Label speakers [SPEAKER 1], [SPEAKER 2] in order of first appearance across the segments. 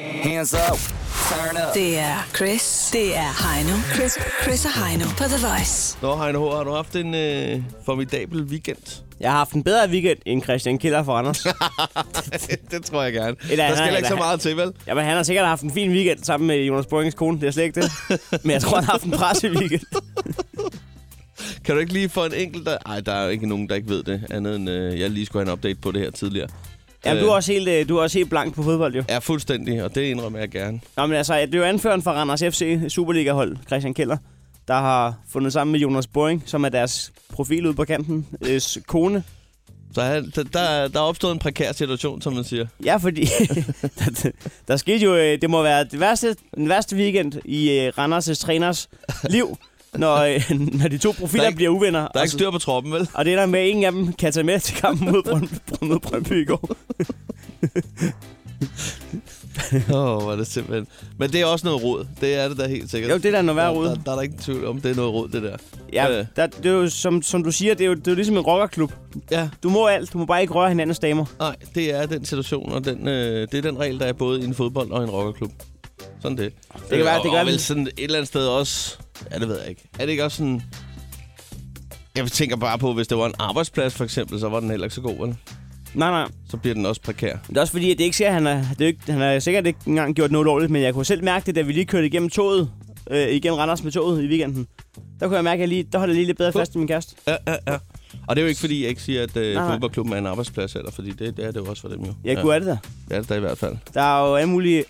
[SPEAKER 1] hands up. Turn up.
[SPEAKER 2] Det er Chris. Det er Heino. Chris, Chris og Heino på The Voice.
[SPEAKER 3] Nå, Heino H., har du haft en øh, formidabel weekend?
[SPEAKER 4] Jeg har haft en bedre weekend end Christian Killer for Anders.
[SPEAKER 3] det, det tror jeg gerne.
[SPEAKER 4] Eller-
[SPEAKER 3] der skal heller ikke så
[SPEAKER 4] eller-
[SPEAKER 3] meget til, vel?
[SPEAKER 4] Jamen, han har sikkert haft en fin weekend sammen med Jonas Borgings kone. Det er slet ikke det. Men jeg tror, han har haft en presset weekend.
[SPEAKER 3] Kan du ikke lige få en enkelt... Der... Ej, der er jo ikke nogen, der ikke ved det, andet end øh, jeg lige skulle have en update på det her tidligere.
[SPEAKER 4] Jamen, du er også helt, øh, du er også helt blank på fodbold, jo.
[SPEAKER 3] Ja, fuldstændig, og det indrømmer jeg gerne.
[SPEAKER 4] Nå, men altså, det er jo anføreren fra Randers FC Superliga-hold, Christian Keller, der har fundet sammen med Jonas Boring, som er deres profil ude på kanten, øh, s- kone.
[SPEAKER 3] Så han, der, der, der er opstået en prekær situation, som man siger.
[SPEAKER 4] Ja, fordi der, der skete jo, øh, det må være det værste, den værste weekend i øh, Randers' træners liv, når, øh, når de to profiler
[SPEAKER 3] Der er ikke-
[SPEAKER 4] bliver uvenner. Altså,
[SPEAKER 3] Der er
[SPEAKER 4] Og
[SPEAKER 3] ikke
[SPEAKER 4] så-
[SPEAKER 3] styr på troppen, vel?
[SPEAKER 4] Og det er der med, at ingen af dem kan tage med til kampen mod Brøndby, mod Brøndby i går.
[SPEAKER 3] Åh, oh, hvor er det simpelthen... Men det er også noget rod. Det er det da helt sikkert.
[SPEAKER 4] Jo, det er da noget værre rod.
[SPEAKER 3] Der, der er der ikke tvivl om, det er noget rod, det der.
[SPEAKER 4] Ja,
[SPEAKER 3] Øh,
[SPEAKER 4] der, det er jo, som, som du siger, det er, jo, det er jo ligesom en rockerklub.
[SPEAKER 3] ja.
[SPEAKER 4] Du må alt, du må bare ikke røre hinandens damer.
[SPEAKER 3] Nej, det er den situation, og den, øh, det er den regel, der er både i en fodbold og i en rockerklub. Sådan det. Det
[SPEAKER 4] kan være-
[SPEAKER 3] og,
[SPEAKER 4] det kan
[SPEAKER 3] og
[SPEAKER 4] være-
[SPEAKER 3] vel sådan et eller andet sted også... Ja, det ved jeg ikke. Er det ikke også sådan... Jeg tænker bare på, hvis det var en arbejdsplads, for eksempel, så var den heller ikke så god, vel?
[SPEAKER 4] Nej, nej.
[SPEAKER 3] Så bliver den også prekær.
[SPEAKER 4] Det er også fordi, at det ikke ser, at han er, det er jo ikke, han har sikkert ikke engang gjort noget lovligt, men jeg kunne selv mærke det, da vi lige kørte igennem toget, øh, igennem Randers med toget i weekenden. Der kunne jeg mærke, at jeg lige, der holdt jeg lige lidt bedre fast i min kæreste.
[SPEAKER 3] Ja, ja, ja. Og det er jo ikke, fordi jeg ikke siger, at øh,
[SPEAKER 4] Nej, nej.
[SPEAKER 3] fodboldklubben er en arbejdsplads, eller, fordi det, det er det jo også for dem jo.
[SPEAKER 4] Jeg
[SPEAKER 3] ja.
[SPEAKER 4] kunne have det der.
[SPEAKER 3] Det er det da i hvert fald.
[SPEAKER 4] Der er jo alle mulige...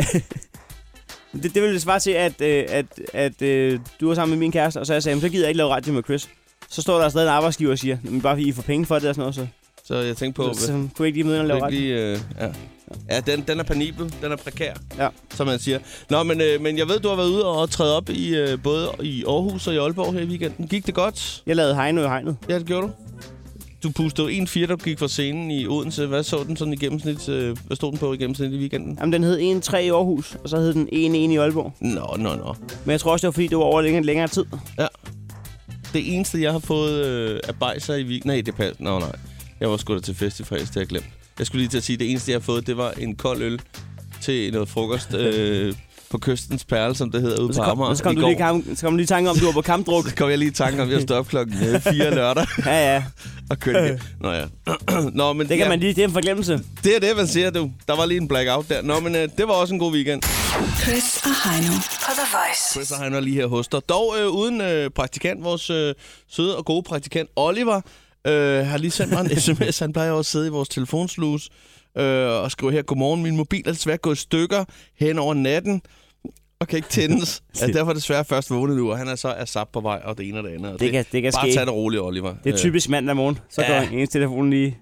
[SPEAKER 4] det, det ville svare til, at, øh, at, at øh, du var sammen med min kæreste, og så jeg sagde, "Men så gider jeg ikke lave radio med Chris. Så står der stadig en arbejdsgiver og siger, men bare fordi I får penge for det og sådan noget, så,
[SPEAKER 3] Så jeg tænkte på...
[SPEAKER 4] så, så kunne I ikke lige møde ind og lave
[SPEAKER 3] Lave
[SPEAKER 4] radio.
[SPEAKER 3] lige, øh, ja. ja den, den er penibel, den er prekær,
[SPEAKER 4] Ja.
[SPEAKER 3] som man siger. Nå, men, øh, men jeg ved, du har været ude og træde op i øh, både i Aarhus og i Aalborg her i weekenden. Gik det godt?
[SPEAKER 4] Jeg lavede Heino i hegnet.
[SPEAKER 3] Ja, det gjorde du. Du pustede en fire, der gik fra scenen i Odense. Hvad så den sådan i gennemsnit? Øh, hvad stod den på i gennemsnit i weekenden?
[SPEAKER 4] Jamen, den hed 1-3 i Aarhus, og så hed den 1-1 i Aalborg.
[SPEAKER 3] Nå, nå, nå.
[SPEAKER 4] Men jeg tror også, det var fordi, det var over længere, længere tid.
[SPEAKER 3] Det eneste, jeg har fået øh, af bajser i weekenden... Nej, det pas. Nå, nej. Jeg var sgu da til fest i fredags, det har jeg glemt. Jeg skulle lige til at sige, at det eneste, jeg har fået, det var en kold øl til noget frokost øh, på kystens perle, som det hedder, ude
[SPEAKER 4] Og
[SPEAKER 3] på
[SPEAKER 4] så kom,
[SPEAKER 3] Amager.
[SPEAKER 4] og så kom,
[SPEAKER 3] i
[SPEAKER 4] du
[SPEAKER 3] går.
[SPEAKER 4] lige, i kamp, så kom du lige i tanke om, at du var på kampdruk.
[SPEAKER 3] Så kom jeg lige i tanke om, at jeg stod op klokken 4 lørdag
[SPEAKER 4] Ja, ja.
[SPEAKER 3] og kørte hjem. Nå ja. Nå, men
[SPEAKER 4] Det kan
[SPEAKER 3] ja,
[SPEAKER 4] man lige, det er en forglemmelse.
[SPEAKER 3] det er det, man siger, du. Der var lige en blackout der. Nå, men øh, det var også en god weekend.
[SPEAKER 2] Chris og Heino på The Voice.
[SPEAKER 3] Chris og Heiner lige her hos dig. Dog øh, uden øh, praktikant, vores øh, søde og gode praktikant Oliver, øh, har lige sendt mig en sms. Han plejer jo at sidde i vores telefonsluse øh, og skrive her, godmorgen, min mobil er desværre gået i stykker hen over natten og kan ikke tændes. Ja, derfor er desværre først vågnet nu, og han er så asap på vej, og det ene og det andet. Og
[SPEAKER 4] Det kan- det kan
[SPEAKER 3] bare
[SPEAKER 4] ske.
[SPEAKER 3] tag det roligt, Oliver.
[SPEAKER 4] Det er
[SPEAKER 3] Øh,
[SPEAKER 4] typisk mandag morgen. Så går
[SPEAKER 3] Ja.
[SPEAKER 4] ja. ens telefon lige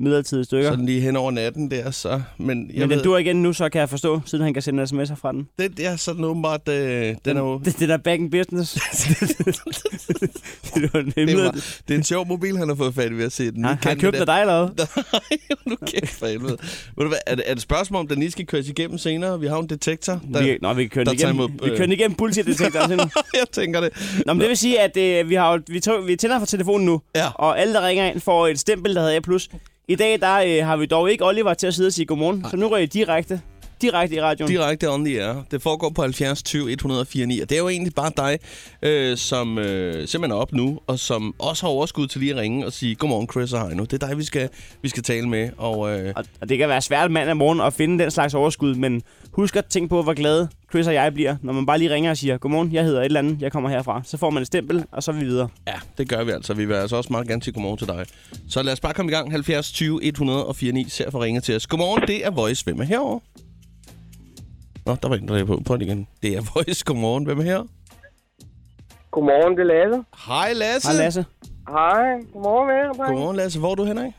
[SPEAKER 4] midlertidigt i stykker.
[SPEAKER 3] Sådan lige hen over natten der, så... Men, jeg
[SPEAKER 4] Men
[SPEAKER 3] ved,
[SPEAKER 4] den dur igen nu, så kan jeg forstå, siden han kan sende sms'er fra den.
[SPEAKER 3] det, det er sådan åbenbart... Øh, den er jo...
[SPEAKER 4] Det, det der back in business. det var en
[SPEAKER 3] Det
[SPEAKER 4] hemmelighed.
[SPEAKER 3] er, bare- det er en sjov mobil, han har fået fat i ved at se den.
[SPEAKER 4] Han, han købte af dig eller hvad?
[SPEAKER 3] Nej, nu kæft for helvede. Ved du hvad, er, det, er det et spørgsmål, om den lige skal køres igennem senere? Vi har jo en detektor. Der,
[SPEAKER 4] Vi, nå, vi kan køre den
[SPEAKER 3] der tager
[SPEAKER 4] igennem,
[SPEAKER 3] imod,
[SPEAKER 4] vi
[SPEAKER 3] øh.
[SPEAKER 4] kører den igennem politidetektoren. simpelthen.
[SPEAKER 3] jeg tænker det.
[SPEAKER 4] Nå, men det vil sige, at øh, vi, har, jo- vi, tog, vi tænder for telefonen nu,
[SPEAKER 3] Ja.
[SPEAKER 4] og alle, der ringer ind, får et stempel, der hedder A+. I dag der, øh, har vi dog ikke Oliver til at sidde og sige godmorgen, så nu rører I direkte, direkte i radioen.
[SPEAKER 3] Direkte on the air. Det foregår på 70 20 104 9, og det er jo egentlig bare dig, øh, som øh, simpelthen er op nu, og som også har overskud til lige at ringe og sige, godmorgen Chris og Heino. Det er dig, vi skal, vi skal tale med, og... Øh,
[SPEAKER 4] Og, og det kan være svært mandag morgen at finde den slags overskud, men husk at tænke på, hvor glade Chris og jeg bliver, når man bare lige ringer og siger, godmorgen, jeg hedder et eller andet, jeg kommer herfra. Så får man et stempel, og så er vi videre.
[SPEAKER 3] Ja, det gør vi altså. Vi vil altså også meget gerne sige godmorgen til dig. Så lad os bare komme i gang. 70 20 104 9. Ser for ringe til os. Godmorgen, det er Voice. Hvem er herovre? Nå, der var en, der lagde på. Prøv det igen. Det er Voice. Godmorgen. Hvem er her?
[SPEAKER 5] Godmorgen, det er Lasse.
[SPEAKER 3] Hej Lasse.
[SPEAKER 4] Hej Lasse.
[SPEAKER 5] Hej, godmorgen med jer, drenge.
[SPEAKER 3] Godmorgen Lasse. Hvor er du henne? af?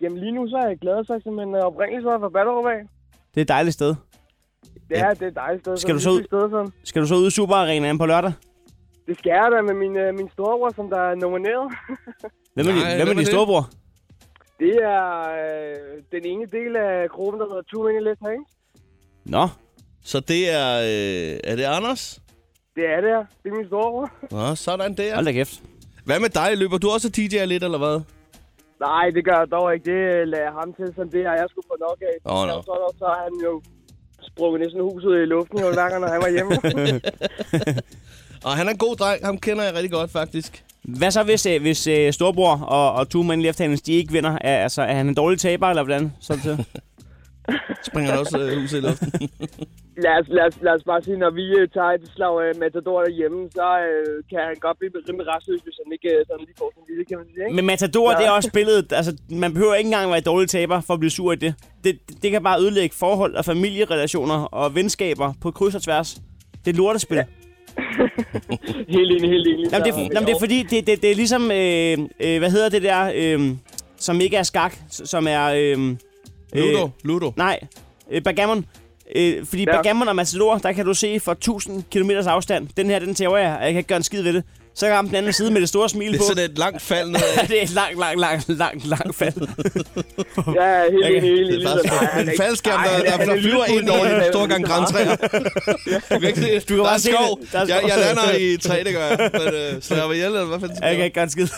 [SPEAKER 5] Jamen lige nu så er jeg glad, så simpelthen øh, oprindeligt så er jeg fra Ballerup af.
[SPEAKER 4] Det er et dejligt sted.
[SPEAKER 5] Det
[SPEAKER 3] Ja.
[SPEAKER 5] er, det er et dejligt sted.
[SPEAKER 4] Skal du så ud-
[SPEAKER 5] hyggeligt Sted, sådan.
[SPEAKER 4] Skal du så ud i Superarenaen på lørdag?
[SPEAKER 5] Det skal jeg da med min, øh, min storebror, som der er nomineret.
[SPEAKER 4] Hvem er,
[SPEAKER 3] Nej,
[SPEAKER 4] din, hvem er
[SPEAKER 3] hvem er
[SPEAKER 4] din
[SPEAKER 3] det?
[SPEAKER 4] storebror?
[SPEAKER 5] Det er øh, den ene del af gruppen, der hedder Two Minute List Hangs.
[SPEAKER 4] Nå,
[SPEAKER 3] Så det er... Øh, er det Anders?
[SPEAKER 5] Det er det her. Det er min storebror.
[SPEAKER 3] Nå, sådan der.
[SPEAKER 4] hold da kæft.
[SPEAKER 3] Hvad med dig? Løber du også og DJ'er lidt, eller hvad?
[SPEAKER 5] Nej, det gør jeg dog ikke. Det øh, lader jeg ham til, som det har jeg sgu få nok af.
[SPEAKER 3] Åh, nå.
[SPEAKER 5] Så, så er han jo sprunget næsten huset i luften i Hollanderen, når han var hjemme.
[SPEAKER 3] Og han er en god dreng. Ham kender jeg rigtig godt, faktisk.
[SPEAKER 4] Hvad så, hvis, øh, hvis øh, Storbror og, og Two Man Left Hands, de ikke vinder? Er, altså, er han en dårlig taber, eller hvordan? Sådan til.
[SPEAKER 3] Springer han også øh, huset i luften.
[SPEAKER 5] lad, os, lad, os, lad os bare sige, når vi øh, tager et slag af Matador derhjemme, så øh, kan han godt blive rimelig restløs, hvis han ikke øh, sådan lige får sådan en lille, kan man sige. Ikke?
[SPEAKER 4] Men Matador,
[SPEAKER 5] Ja.
[SPEAKER 4] det er også spillet... Altså, man behøver ikke engang være en dårlig taber for at blive sur i det. det. Det kan bare ødelægge forhold og familierelationer og venskaber på kryds og tværs. Det er et lortespil. Ja.
[SPEAKER 3] Mm.
[SPEAKER 5] Helt enig, helt enig.
[SPEAKER 4] Jamen, det,
[SPEAKER 5] Så-
[SPEAKER 4] er- jamen, det er fordi, det, det, det er ligesom... Øh, øh, hvad hedder det der, øh, som ikke er skak, s- som er... Øh,
[SPEAKER 3] Ludo. Ludo.
[SPEAKER 4] Nej, øh, Bergamon. Øh, fordi ja.
[SPEAKER 5] Ja.
[SPEAKER 4] Bergamon og Matador, der kan du se for 1000 km afstand. Den her, den tæver jeg, og jeg kan ikke gøre en skid ved det. Så kan den anden side med det store smil
[SPEAKER 3] Det
[SPEAKER 4] på.
[SPEAKER 3] er sådan et langt fald ned. ad.
[SPEAKER 4] det er et langt, langt, langt, langt, langt fald.
[SPEAKER 5] Ja, helt
[SPEAKER 4] Jeg kan-
[SPEAKER 5] enig, helt
[SPEAKER 3] Det
[SPEAKER 5] enig.
[SPEAKER 3] er faktisk
[SPEAKER 5] Nej, han er
[SPEAKER 3] en
[SPEAKER 5] ikke-
[SPEAKER 3] faldskærm,
[SPEAKER 5] Ej, han er-
[SPEAKER 3] der, der,
[SPEAKER 5] han er
[SPEAKER 3] der flyver
[SPEAKER 5] lynhurtig,
[SPEAKER 3] ind over
[SPEAKER 5] han
[SPEAKER 3] en
[SPEAKER 5] er-
[SPEAKER 3] stor gang grantræer. Du kan ikke se det.
[SPEAKER 4] Du kan
[SPEAKER 3] der
[SPEAKER 4] bare
[SPEAKER 3] er
[SPEAKER 4] se det.
[SPEAKER 3] skov.
[SPEAKER 4] Der er skov.
[SPEAKER 3] Jeg, jeg lander i et træ, det gør jeg. Men, øh, slår jeg mig ihjel, eller hvad fanden
[SPEAKER 4] Jeg
[SPEAKER 3] skal
[SPEAKER 4] kan
[SPEAKER 3] jeg?
[SPEAKER 4] ikke gøre en skid.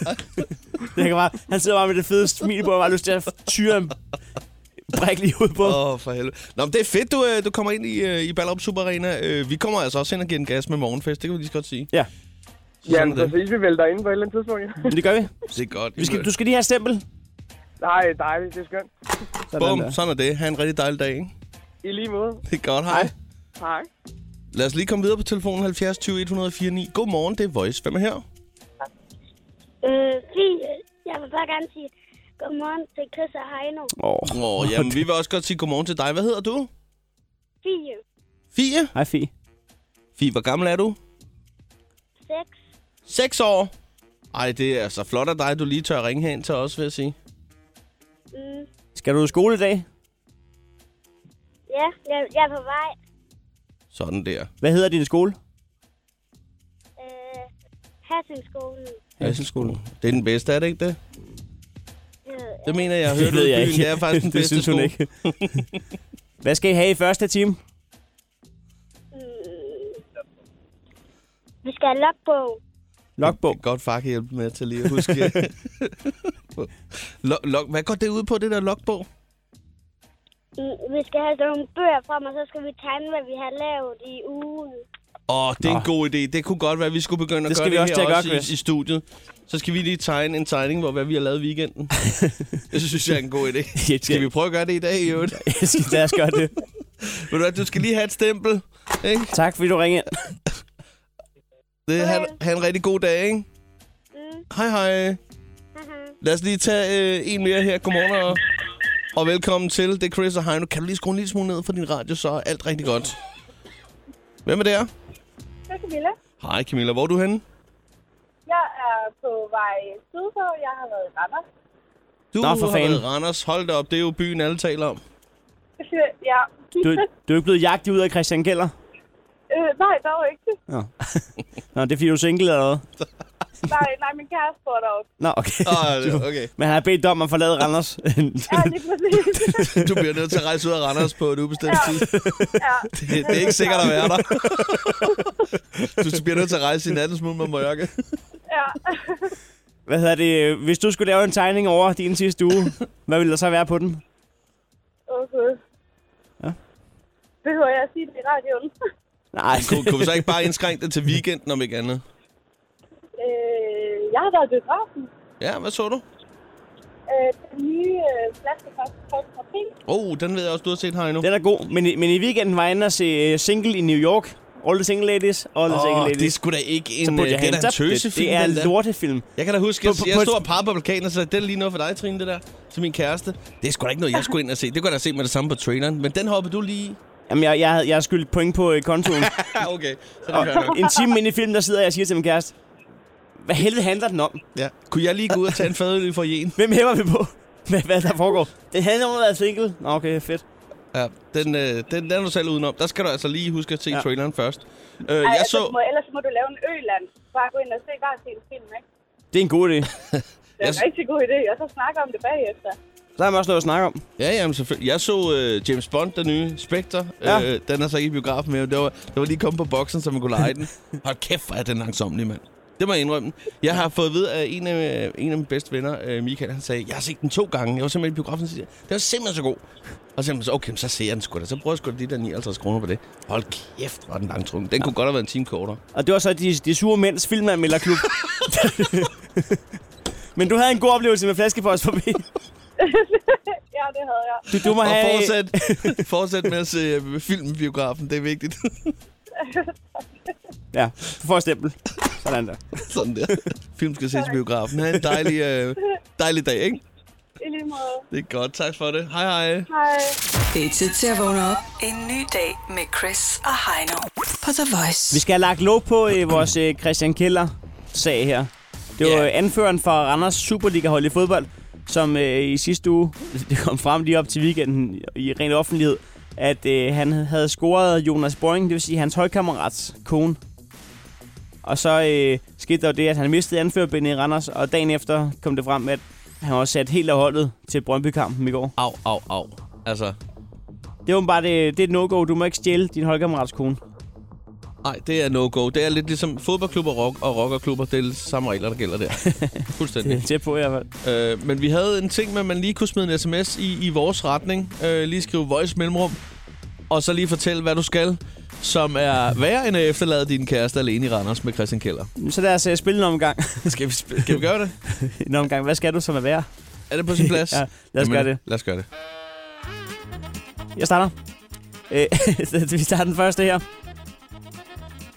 [SPEAKER 4] Jeg kan bare, han sidder bare med det fede smil på, og bare lyst til at tyre en brik lige ud på.
[SPEAKER 3] Åh, oh, for helvede. Nå, men det er fedt, du, øh, du kommer ind i, øh, i Ballerup Super Arena. Øh, Vi kommer altså også ind og giver den gas med morgenfest, det kan vi lige så godt sige.
[SPEAKER 4] Ja,
[SPEAKER 3] Sådan
[SPEAKER 5] Jamen,
[SPEAKER 3] er
[SPEAKER 5] så
[SPEAKER 3] det.
[SPEAKER 5] ses vi vel derinde på et eller andet tidspunkt. ja.
[SPEAKER 4] men det gør vi.
[SPEAKER 3] Det er godt.
[SPEAKER 4] vi skal, du skal lige have et stempel.
[SPEAKER 5] Nej, dejligt, det er skønt.
[SPEAKER 4] Sådan
[SPEAKER 3] Bum,
[SPEAKER 4] der.
[SPEAKER 3] sådan er det. Ha' en rigtig dejlig dag, ikke?
[SPEAKER 5] I lige måde.
[SPEAKER 3] Det er godt, hej.
[SPEAKER 4] Hej.
[SPEAKER 5] Hej.
[SPEAKER 3] Lad os lige komme videre på telefonen 70 20 104 9. Godmorgen, det er Voice. Hvem er her?
[SPEAKER 1] Øh, fint. Jeg vil bare gerne sige godmorgen til Chris og Heino.
[SPEAKER 4] Åh,
[SPEAKER 3] Åh, oh, jamen, vi vil også godt sige godmorgen til dig. Hvad hedder du?
[SPEAKER 1] Fie,
[SPEAKER 3] Fie.
[SPEAKER 4] hej Fie.
[SPEAKER 3] Fie, hvor gammel er du?
[SPEAKER 1] 6.
[SPEAKER 3] 6 år. Ej, det er altså flot af dig, du lige tør ringe hen til os, vil jeg sige.
[SPEAKER 1] Mm,
[SPEAKER 4] Skal du i skole i dag?
[SPEAKER 1] ja, jeg, jeg er på vej.
[SPEAKER 3] Sådan der.
[SPEAKER 4] Hvad hedder din skole?
[SPEAKER 1] Øh, Hassenskolen.
[SPEAKER 3] Hasselskolen. Det er den bedste, er det ikke det?
[SPEAKER 1] Øh,
[SPEAKER 3] Det mener jeg, jeg hørte ude i byen. Det er faktisk den
[SPEAKER 4] det
[SPEAKER 3] bedste
[SPEAKER 4] synes hun
[SPEAKER 3] skole.
[SPEAKER 4] ikke. Hvad skal I have i første time?
[SPEAKER 1] mm, vi skal have logbog.
[SPEAKER 4] Logbog.
[SPEAKER 3] Godt far kan hjælpe med til lige at huske. log, log, hvad går det ud på, det der logbog?
[SPEAKER 1] Mm, vi skal have sådan nogle bøger frem, og så skal vi tegne, hvad vi har lavet i ugen.
[SPEAKER 3] Åh, oh, det er en
[SPEAKER 4] Nå.
[SPEAKER 3] god idé. Det kunne godt være, at vi skulle begynde at
[SPEAKER 4] Det
[SPEAKER 3] gøre
[SPEAKER 4] skal vi
[SPEAKER 3] det
[SPEAKER 4] også til
[SPEAKER 3] her
[SPEAKER 4] at gøre,
[SPEAKER 3] også
[SPEAKER 4] Chris.
[SPEAKER 3] i, i studiet. Så skal vi lige tegne en tegning, hvor hvad vi har lavet i weekenden. det synes jeg er en god idé.
[SPEAKER 4] Jeg
[SPEAKER 3] Skal vi prøve at gøre det i dag, i øvrigt? Ved
[SPEAKER 4] Jeg skal, lad os gøre det.
[SPEAKER 3] du hvad, du skal lige have et stempel. Ikke?
[SPEAKER 4] Tak, fordi du ringede.
[SPEAKER 3] Det, ha, ha' en rigtig god dag, ikke?
[SPEAKER 1] Mm,
[SPEAKER 3] Hej, hej.
[SPEAKER 6] Mm-hmm.
[SPEAKER 1] haha.
[SPEAKER 3] Lad os lige tage øh, en mere her. Godmorgen og, og velkommen til. Det er Chris og Heino. Kan du lige skrue en lille smule ned for din radio, så er alt rigtig godt. Hvem er der?
[SPEAKER 6] Jeg er Camilla.
[SPEAKER 3] Hej Camilla, hvor er du henne?
[SPEAKER 6] Jeg er på vej sydpå. Jeg har været i Randers.
[SPEAKER 3] Du
[SPEAKER 4] Nå, for
[SPEAKER 3] har
[SPEAKER 4] fanden.
[SPEAKER 3] været i Randers. Hold da op, det er jo byen, alle taler om.
[SPEAKER 6] ja.
[SPEAKER 4] Du, du er ikke blevet jagtet ud af Christian Keller?
[SPEAKER 6] Øh, nej, der var ikke det.
[SPEAKER 4] Nå. Nå, det er fordi, du er single eller hvad?
[SPEAKER 6] Nej, nej, min kæreste bor deroppe.
[SPEAKER 4] Nå, okay.
[SPEAKER 3] Åh, okay.
[SPEAKER 4] Men han har bedt dig om at forlade Randers.
[SPEAKER 6] Ja, lige præcis.
[SPEAKER 3] Du bliver nødt til at rejse ud af Randers på et ubestemt tid.
[SPEAKER 6] Ja.
[SPEAKER 3] Det, det er ikke sikkert at være der. Du bliver nødt til at rejse i natten smule med mørke.
[SPEAKER 6] ja.
[SPEAKER 4] Hvad hedder det? Hvis du skulle lave en tegning over din sidste uge, hvad ville der så være på den?
[SPEAKER 6] Åh, gud.
[SPEAKER 4] Ja.
[SPEAKER 6] Behøver jeg at sige det i radioen?
[SPEAKER 4] Nej,
[SPEAKER 3] Kunne, kunne vi så ikke bare indskrænke det til weekenden om ikke andet?
[SPEAKER 6] øh, jeg har været i biografen.
[SPEAKER 3] Ja, hvad så du?
[SPEAKER 6] Øh, den nye øh, flaskepost fra P.
[SPEAKER 3] Oh, den ved jeg også, du har set her endnu.
[SPEAKER 4] den er god. Men i, men i weekenden var jeg inde og se øh, single i New York. All the single ladies. All the single
[SPEAKER 3] Åh, det er
[SPEAKER 4] ladies.
[SPEAKER 3] sgu da ikke
[SPEAKER 4] altså Så
[SPEAKER 3] en,
[SPEAKER 4] burde
[SPEAKER 3] øh,
[SPEAKER 4] jeg
[SPEAKER 3] det
[SPEAKER 4] have
[SPEAKER 3] er da
[SPEAKER 4] en
[SPEAKER 3] en
[SPEAKER 4] tab- det,
[SPEAKER 3] tøsefilm.
[SPEAKER 4] det er en
[SPEAKER 3] den der.
[SPEAKER 4] lortefilm.
[SPEAKER 3] Jeg kan da huske, jeg,
[SPEAKER 4] På- på-
[SPEAKER 3] jeg
[SPEAKER 4] på et-
[SPEAKER 3] stod og pegede på plakaten og sagde, den lige noget for dig, Trine, det der, til min kæreste. Det er sgu da ikke noget, jeg skulle ind og se. Det kunne jeg da se med det samme på traileren. Men den hoppede du lige i.
[SPEAKER 4] Jamen, jeg, jeg, havde- jeg har skyldt point på øh, kontoen.
[SPEAKER 3] Ja, okay. Så det gør jeg nok.
[SPEAKER 4] en time inde i filmen, der sidder jeg og siger til min kæreste, hvad helvede handler den om?
[SPEAKER 3] ja. Kunne jeg lige gå ud og tage en fadøl i forjen?
[SPEAKER 4] Hvem hæver vi på? Hvad, hvad der foregår? Det handler om at være single. Nå, okay, fedt.
[SPEAKER 3] Ja, den, øh, den, den er du selv udenom. Der skal du altså lige huske at se
[SPEAKER 4] Ja.
[SPEAKER 3] ja. traileren først.
[SPEAKER 6] Ej,
[SPEAKER 3] Øh, jeg
[SPEAKER 6] altså, du må,
[SPEAKER 3] så...
[SPEAKER 6] ellers må du lave en øland. Bare gå ind og se hver sin film, ikke?
[SPEAKER 4] Det er en god idé.
[SPEAKER 6] Det er en
[SPEAKER 3] Jeg-
[SPEAKER 6] rigtig god idé, og så snakke om det bagefter.
[SPEAKER 4] Så har man også noget at snakke om.
[SPEAKER 3] Ja, jamen selvfølgelig. Jeg så øh, James Bond, den nye Spectre.
[SPEAKER 4] Ja.
[SPEAKER 3] Ja. Øh, den er så ikke i biografen mere. Det var, det var lige kommet på boksen, så man kunne lege den. Hold kæft, hvor er den langsomlig, mand. Det må jeg indrømme. Jeg har fået at vide af en af, en af mine bedste venner, øh, Michael, han sagde, jeg har set den to gange. Jeg var simpelthen i biografen og siger, det var simpelthen så god. Og så sagde man så, okay, men så ser jeg den sgu da. Så bruger jeg sgu da de der 59 kroner på det. Hold kæft, var den langtrukken. Den kunne godt have været en time kortere.
[SPEAKER 4] Og det var så de, de sure mænds filmanmelderklub. Men du havde en god oplevelse med flaskepost forbi.
[SPEAKER 6] ja, det havde jeg.
[SPEAKER 4] Du, du må
[SPEAKER 3] Og
[SPEAKER 4] have...
[SPEAKER 3] fortsæt, fortsæt med at se øh, filmen i biografen, det er vigtigt.
[SPEAKER 4] Ja, du får et stempel. Sådan der.
[SPEAKER 3] Sådan der. Film skal ses i biografen. Ha' en dejlig, øh, dejlig dag, ikke?
[SPEAKER 6] I lige måde.
[SPEAKER 3] Det er godt. Tak for det. Hej hej.
[SPEAKER 6] Hej.
[SPEAKER 2] Det er tid til at vågne op. En ny dag med Chris og Heino på The Voice.
[SPEAKER 4] Vi skal have lagt låg på øh, vores øh, Christian Keller-sag her. Det var
[SPEAKER 3] Ja.
[SPEAKER 4] yeah. anføreren for Randers Superliga-hold i fodbold, som øh, i sidste uge, det kom frem lige op til weekenden i ren offentlighed, at øh, han havde scoret Jonas Boring, det vil sige hans højkammerats kone. Og så øh, skete der jo det, at han mistede anførerbindet i Randers, og dagen efter kom det frem, at han var sat helt af holdet til Brøndby-kampen i går.
[SPEAKER 3] Au, au, au. Altså,
[SPEAKER 4] Det er åbenbart øh, det, det er et no-go. Du må ikke stjæle din holdkammerats kone.
[SPEAKER 3] nej, det er no-go. Det er lidt ligesom fodboldklubber rock og rockerklubber. Det er de samme regler, der gælder der. Fuldstændig.
[SPEAKER 4] Det er tæt på i hvert fald.
[SPEAKER 3] Øh, men vi havde en ting med, at man lige kunne smide en sms i, i vores retning. Øh, lige skrive voice mellemrum. Og så lige fortælle, hvad du skal. Som er værre end at efterlade din kæreste alene i Randers med Christian Keller.
[SPEAKER 4] Så lad os øh, spille en omgang.
[SPEAKER 3] Skal vi, skal vi gøre det?
[SPEAKER 4] en omgang. Hvad skal du som er værd?
[SPEAKER 3] Er det på sin plads?
[SPEAKER 4] Ja, lad os gøre det.
[SPEAKER 3] Lad os gøre det.
[SPEAKER 4] Jeg starter. Øh, vi starter den første her.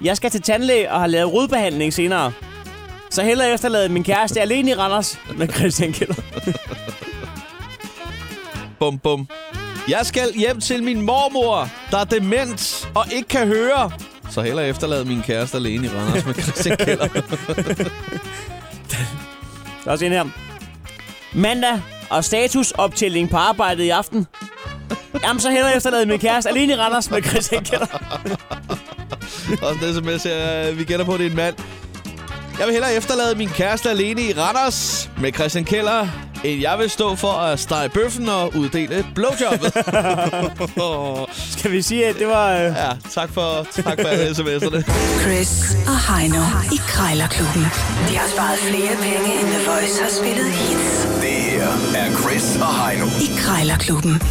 [SPEAKER 4] Jeg skal til tandlæge og har lavet rodbehandling senere. Så hellere efterlade min kæreste alene i Randers med Christian Keller.
[SPEAKER 3] Bum, bum. Jeg skal hjem til min mormor, der er dement og ikke kan høre. Så hellere efterlade min kæreste alene i Randers med Christian Keller.
[SPEAKER 4] Der er også en her. Mandag og statusoptælling på arbejdet i aften. Jamen, så hellere efterlade min kæreste alene i Randers med Christian Keller.
[SPEAKER 3] og det sms her, øh, vi gætter på, at det er en mand. Jeg vil hellere efterlade min kæreste alene i Randers med Christian Keller, end jeg vil stå for at stege bøffen og uddele blowjobbet.
[SPEAKER 4] Skal vi sige, at det var... Øh...
[SPEAKER 3] ja, tak for, tak for alle sms'erne.
[SPEAKER 2] Chris og Heino i Krejlerklubben. De har sparet flere penge, end The Voice har spillet hits
[SPEAKER 7] Det her er Chris og Heino.
[SPEAKER 2] i Krejlerklubben.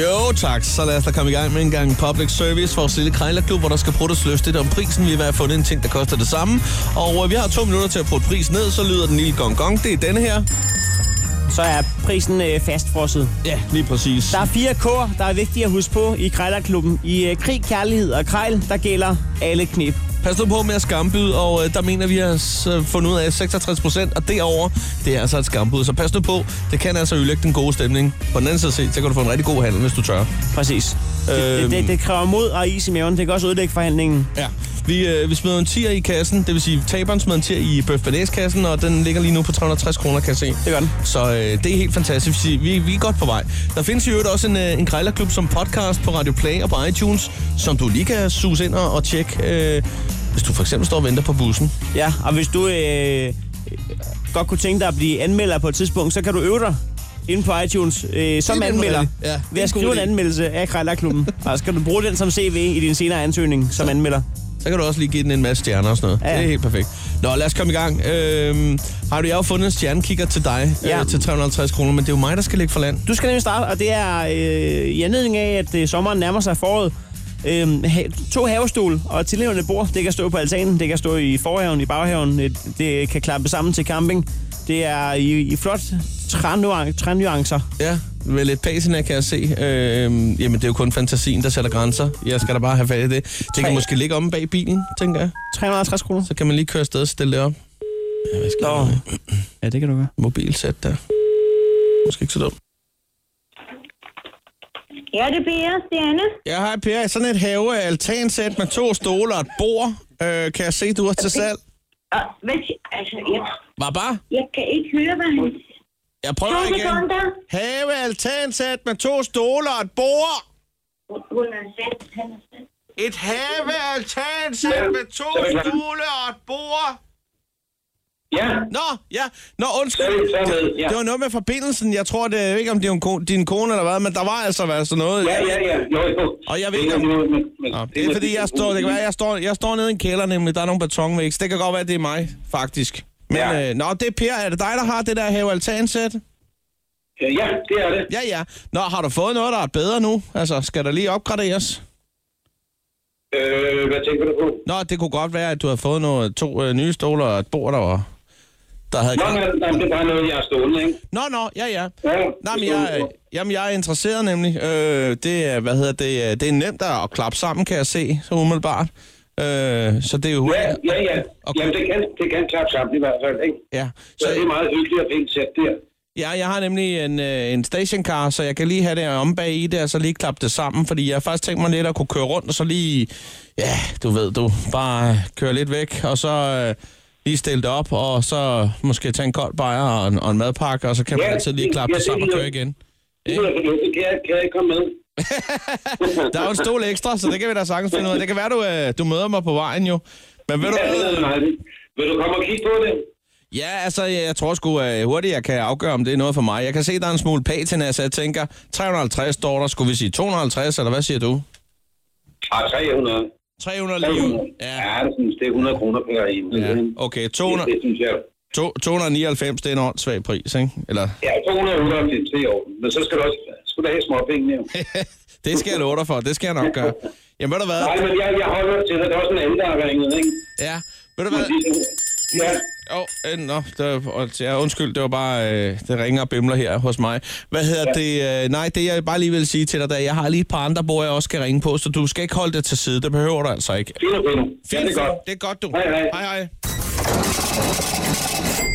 [SPEAKER 3] Jo tak, så lad os da komme i gang med en gang public service. Vores lille krejlerklub, hvor der skal pruttes løfte lidt om prisen. Vi har i hvert fald fundet en ting, der koster det samme. Og øh, vi har to minutter til at prutte prisen ned, så lyder den lille gong gong. Det er denne her.
[SPEAKER 4] Så er prisen øh, fastfrosset.
[SPEAKER 3] Ja, lige præcis.
[SPEAKER 4] Der er fire K'er, der er vigtige at huske på i Krejlerklubben. I øh, krig, kærlighed og krejl, der gælder alle knep.
[SPEAKER 3] Pas nu på med at skambyde, og øh, der mener vi har øh, fundet ud af at 66 procent, og derover det er altså et skambud. Så pas nu på, det kan altså ødelægge den gode stemning. På den anden side set, så kan du få en rigtig god handel, hvis du tør.
[SPEAKER 4] Præcis. Øhm. Det, det, det, det kræver mod og is i maven. Det kan også ødelægge forhandlingen.
[SPEAKER 3] Ja. Vi, øh, vi smider en tier i kassen, det vil sige taberen smider en tier i bøf kassen og den ligger lige nu på 360 kroner, kan jeg se.
[SPEAKER 4] Det gør den.
[SPEAKER 3] Så øh, det er helt fantastisk. Vi, vi vi er godt på vej. Der findes i øvrigt også en, øh, en grejlerklub som podcast på Radio Play og på iTunes, som du lige kan suse ind og, og tjekke, øh, hvis du for eksempel står og venter på bussen.
[SPEAKER 4] Ja, og hvis du øh, øh, godt kunne tænke dig at blive anmelder på et tidspunkt, så kan du øve dig inde på iTunes øh, som
[SPEAKER 3] nemlig
[SPEAKER 4] anmelder.
[SPEAKER 3] rigtigt. Ja, det er
[SPEAKER 4] ved
[SPEAKER 3] en
[SPEAKER 4] at skrive
[SPEAKER 3] god
[SPEAKER 4] en
[SPEAKER 3] idé.
[SPEAKER 4] anmeldelse af Krejlerklubben. og så kan du bruge den som CV i din senere ansøgning som anmelder.
[SPEAKER 3] Så kan du også lige give den en masse stjerner og sådan noget.
[SPEAKER 4] Ja.
[SPEAKER 3] Ja. Det er helt perfekt. Nå, lad os komme i gang. Øh, har du jeg har jo fundet en stjernekikker til dig ja.
[SPEAKER 4] Ja.
[SPEAKER 3] øh, til 350 kroner, men det er jo mig, der skal ligge for land.
[SPEAKER 4] Du skal nemlig starte, og det er øh, i anledning af, at øh, sommeren nærmer sig foråret. Øhm, ha- to havestol og et tilhævende bord. Det kan stå på altanen, det kan stå i forhaven, i baghaven. øh, Det kan klappe sammen til camping. Det er i, i flot trænuan- trænuancer.
[SPEAKER 3] Ja, med lidt patina kan jeg se. Øh, jamen, det er jo kun fantasien, der sætter grænser. Jeg skal da bare have fat i det. Det kan
[SPEAKER 4] Tre.
[SPEAKER 3] måske ligge om bag bilen, tænker jeg.
[SPEAKER 4] 350 kroner.
[SPEAKER 3] Så kan man lige køre afsted og stille det op. Ja, hvad skal
[SPEAKER 4] Nå.
[SPEAKER 3] jeg med?
[SPEAKER 4] Ja, det kan du gøre.
[SPEAKER 3] Mobilsæt der. Måske ikke så dumt.
[SPEAKER 8] Ja, det bliver jeg, Stjerne.
[SPEAKER 3] Ja, hej Per. Sådan et have altansæt med to stole og et bord. Øh, kan jeg se, du har til salg?
[SPEAKER 8] Og, hvad, si- altså, jeg,
[SPEAKER 3] Var bare.
[SPEAKER 8] jeg kan ikke høre, hvad han...
[SPEAKER 3] Jeg
[SPEAKER 8] To
[SPEAKER 3] prøver igen.
[SPEAKER 8] sekunder.
[SPEAKER 3] Have altansæt med to stole og et bord.
[SPEAKER 8] Hun- Hun er sat. Han er sat.
[SPEAKER 3] Et have altansæt med to stole og et bord.
[SPEAKER 9] Ja,
[SPEAKER 3] Nå, ja. Nå, undskyld.
[SPEAKER 9] Så- så med, ja.
[SPEAKER 3] Det var noget med forbindelsen. Jeg tror det, jeg ved ikke, om det er en ko- din kone eller hvad, men der var altså været sådan noget.
[SPEAKER 9] ja, ja, ja. Jo, jo.
[SPEAKER 3] Og jeg ved
[SPEAKER 9] Det
[SPEAKER 3] ikke,
[SPEAKER 9] er
[SPEAKER 3] om-
[SPEAKER 9] noget, men- men-
[SPEAKER 3] Nå, det er fordi, jeg står, det kan være, jeg står, jeg står nede i en kælder nemlig. Der er nogle betonvægs. Det kan godt være, det er mig, faktisk. Men ja.
[SPEAKER 9] Ja.
[SPEAKER 3] øh, nå, det er Per. Er det dig, der har det der have altansæt?
[SPEAKER 9] Øh, Ja, det er det.
[SPEAKER 3] Ja, ja. Nå, har du fået noget, der er bedre nu? Altså, skal der lige opgraderes?
[SPEAKER 9] Øh, hvad tænker du på?
[SPEAKER 3] Nå, det kunne godt være, at du har fået noget, to øh, nye stoler og et bord, der var... Der havde
[SPEAKER 9] Nå, men nej, det er bare noget, jeg har stående, ikke?
[SPEAKER 3] Nå, nå, ja, ja.
[SPEAKER 9] Ja,
[SPEAKER 3] Nej, men jeg, øh, jamen, jeg er interesseret nemlig. Øh, det, er, hvad hedder det, øh, det er nemt at at klappe sammen, kan jeg se, så umiddelbart. Øh, så det er jo...
[SPEAKER 9] Ja, ja, ja.
[SPEAKER 3] Okay.
[SPEAKER 9] Jamen, det kan, det kan klappe sammen i hvert fald, ikke?
[SPEAKER 3] ja.
[SPEAKER 9] Så det
[SPEAKER 3] Så,
[SPEAKER 9] er meget hyggeligt at finde sæt der.
[SPEAKER 3] ja, jeg har nemlig en, øh, en stationcar, så jeg kan lige have det om bag i det, og så lige klappe det sammen, fordi jeg har faktisk tænkt mig lidt at kunne køre rundt, og så lige, ja, du ved, du bare øh, køre lidt væk, og så øh, lige stille det op, og så måske tage en kold bajer og en, og en madpakke, og så kan man
[SPEAKER 9] Ja,
[SPEAKER 3] altid lige
[SPEAKER 9] det-
[SPEAKER 3] klappe
[SPEAKER 9] ja,
[SPEAKER 3] det
[SPEAKER 9] det
[SPEAKER 3] sammen og
[SPEAKER 9] lyder-
[SPEAKER 3] køre igen.
[SPEAKER 9] Det er fornuftigt. Kan jeg, kan jeg komme med?
[SPEAKER 3] Der er jo en stol ekstra, så det kan vi da sagtens finde ud af. Det kan være, du, øh, du møder mig på vejen jo. Men ved du
[SPEAKER 9] Ja, det
[SPEAKER 3] hvad?
[SPEAKER 9] er meget hyggeligt. Vil du komme og kigge på det?
[SPEAKER 3] Ja, altså, jeg, jeg tror sgu øh, hurtigt, jeg kan afgøre, om det er noget for mig. Jeg kan se, der er en smule patina, så jeg tænker, 350 står der. Skulle vi sige 250, eller hvad siger du?
[SPEAKER 9] Ah, 300.
[SPEAKER 3] 300 lige
[SPEAKER 9] 300.
[SPEAKER 3] ud.
[SPEAKER 9] Ja,
[SPEAKER 3] Ja.
[SPEAKER 9] det synes, det er 100 kroner per en.
[SPEAKER 3] ja.
[SPEAKER 9] ikke?
[SPEAKER 3] Okay,
[SPEAKER 9] Det,
[SPEAKER 3] 200,
[SPEAKER 9] det synes jeg.
[SPEAKER 3] to, 299, det er en åndssvag pris, ikke? Eller,
[SPEAKER 9] Ja, 298 det er i orden. Men så skal du også skal du have småpenge, jo.
[SPEAKER 3] det skal jeg love dig for, det skal jeg nok gøre. Jamen, ved du hvad?
[SPEAKER 9] Nej, men jeg, jeg holder til dig. Der er også en anden, der har ringet, ikke?
[SPEAKER 3] Ja, ved du hvad?
[SPEAKER 9] Ja,
[SPEAKER 3] Jo, øh, nå, det, og- ja, undskyld, det var bare, øh, det ringer og bimler her hos mig. Hvad hedder ja. det? Øh, nej, det jeg bare lige vil sige til dig, der, jeg har lige et par andre, hvor jeg også skal ringe på, så du skal ikke holde det til side, det behøver du altså ikke.
[SPEAKER 9] fint og fint. Ja, det er godt.
[SPEAKER 3] det er godt, du.
[SPEAKER 9] Hej, hej.
[SPEAKER 3] Hej, hej.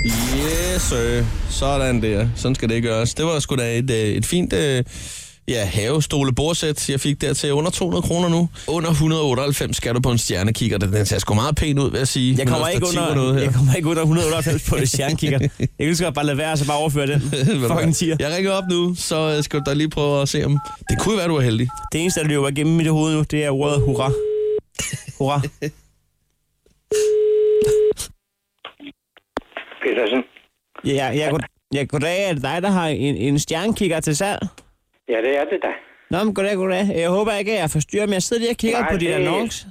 [SPEAKER 3] Yes, sir. Sådan der. Sådan skal det gøres. Det var sgu da et, øh, et fint øh, ja, havestolebordsæt, jeg fik der til under 200 kroner nu. Under 198 skal du på en stjernekikker. Den den ser sgu meget pæn ud, vil jeg sige.
[SPEAKER 4] Jeg kommer,
[SPEAKER 3] Med
[SPEAKER 4] ikke
[SPEAKER 3] stativ og noget
[SPEAKER 4] under,
[SPEAKER 3] her.
[SPEAKER 4] jeg kommer ikke under 198 på det stjernekikker. Jeg kan lige så godt bare lade være, og så bare overføre den.
[SPEAKER 3] Ved du
[SPEAKER 4] Fucking
[SPEAKER 3] hvad?
[SPEAKER 4] tier.
[SPEAKER 3] Jeg ringer op nu, så øh, skal du da lige prøve at se om... Det kunne jo være, du er heldig.
[SPEAKER 4] Det eneste, der løber igennem mit hoved nu, det er ordet hurra. Hurra.
[SPEAKER 9] Petersen.
[SPEAKER 4] Ja, ja, ja, god, ja goddag. Er det dig, der har en, en stjernekikker til salg?
[SPEAKER 9] Ja, det er det da.
[SPEAKER 4] Nå, men goddag, goddag. Jeg håber ikke, at jeg forstyrrer, men jeg sidder lige og kigger
[SPEAKER 9] Nej,
[SPEAKER 4] på dit
[SPEAKER 9] det-
[SPEAKER 4] annonce.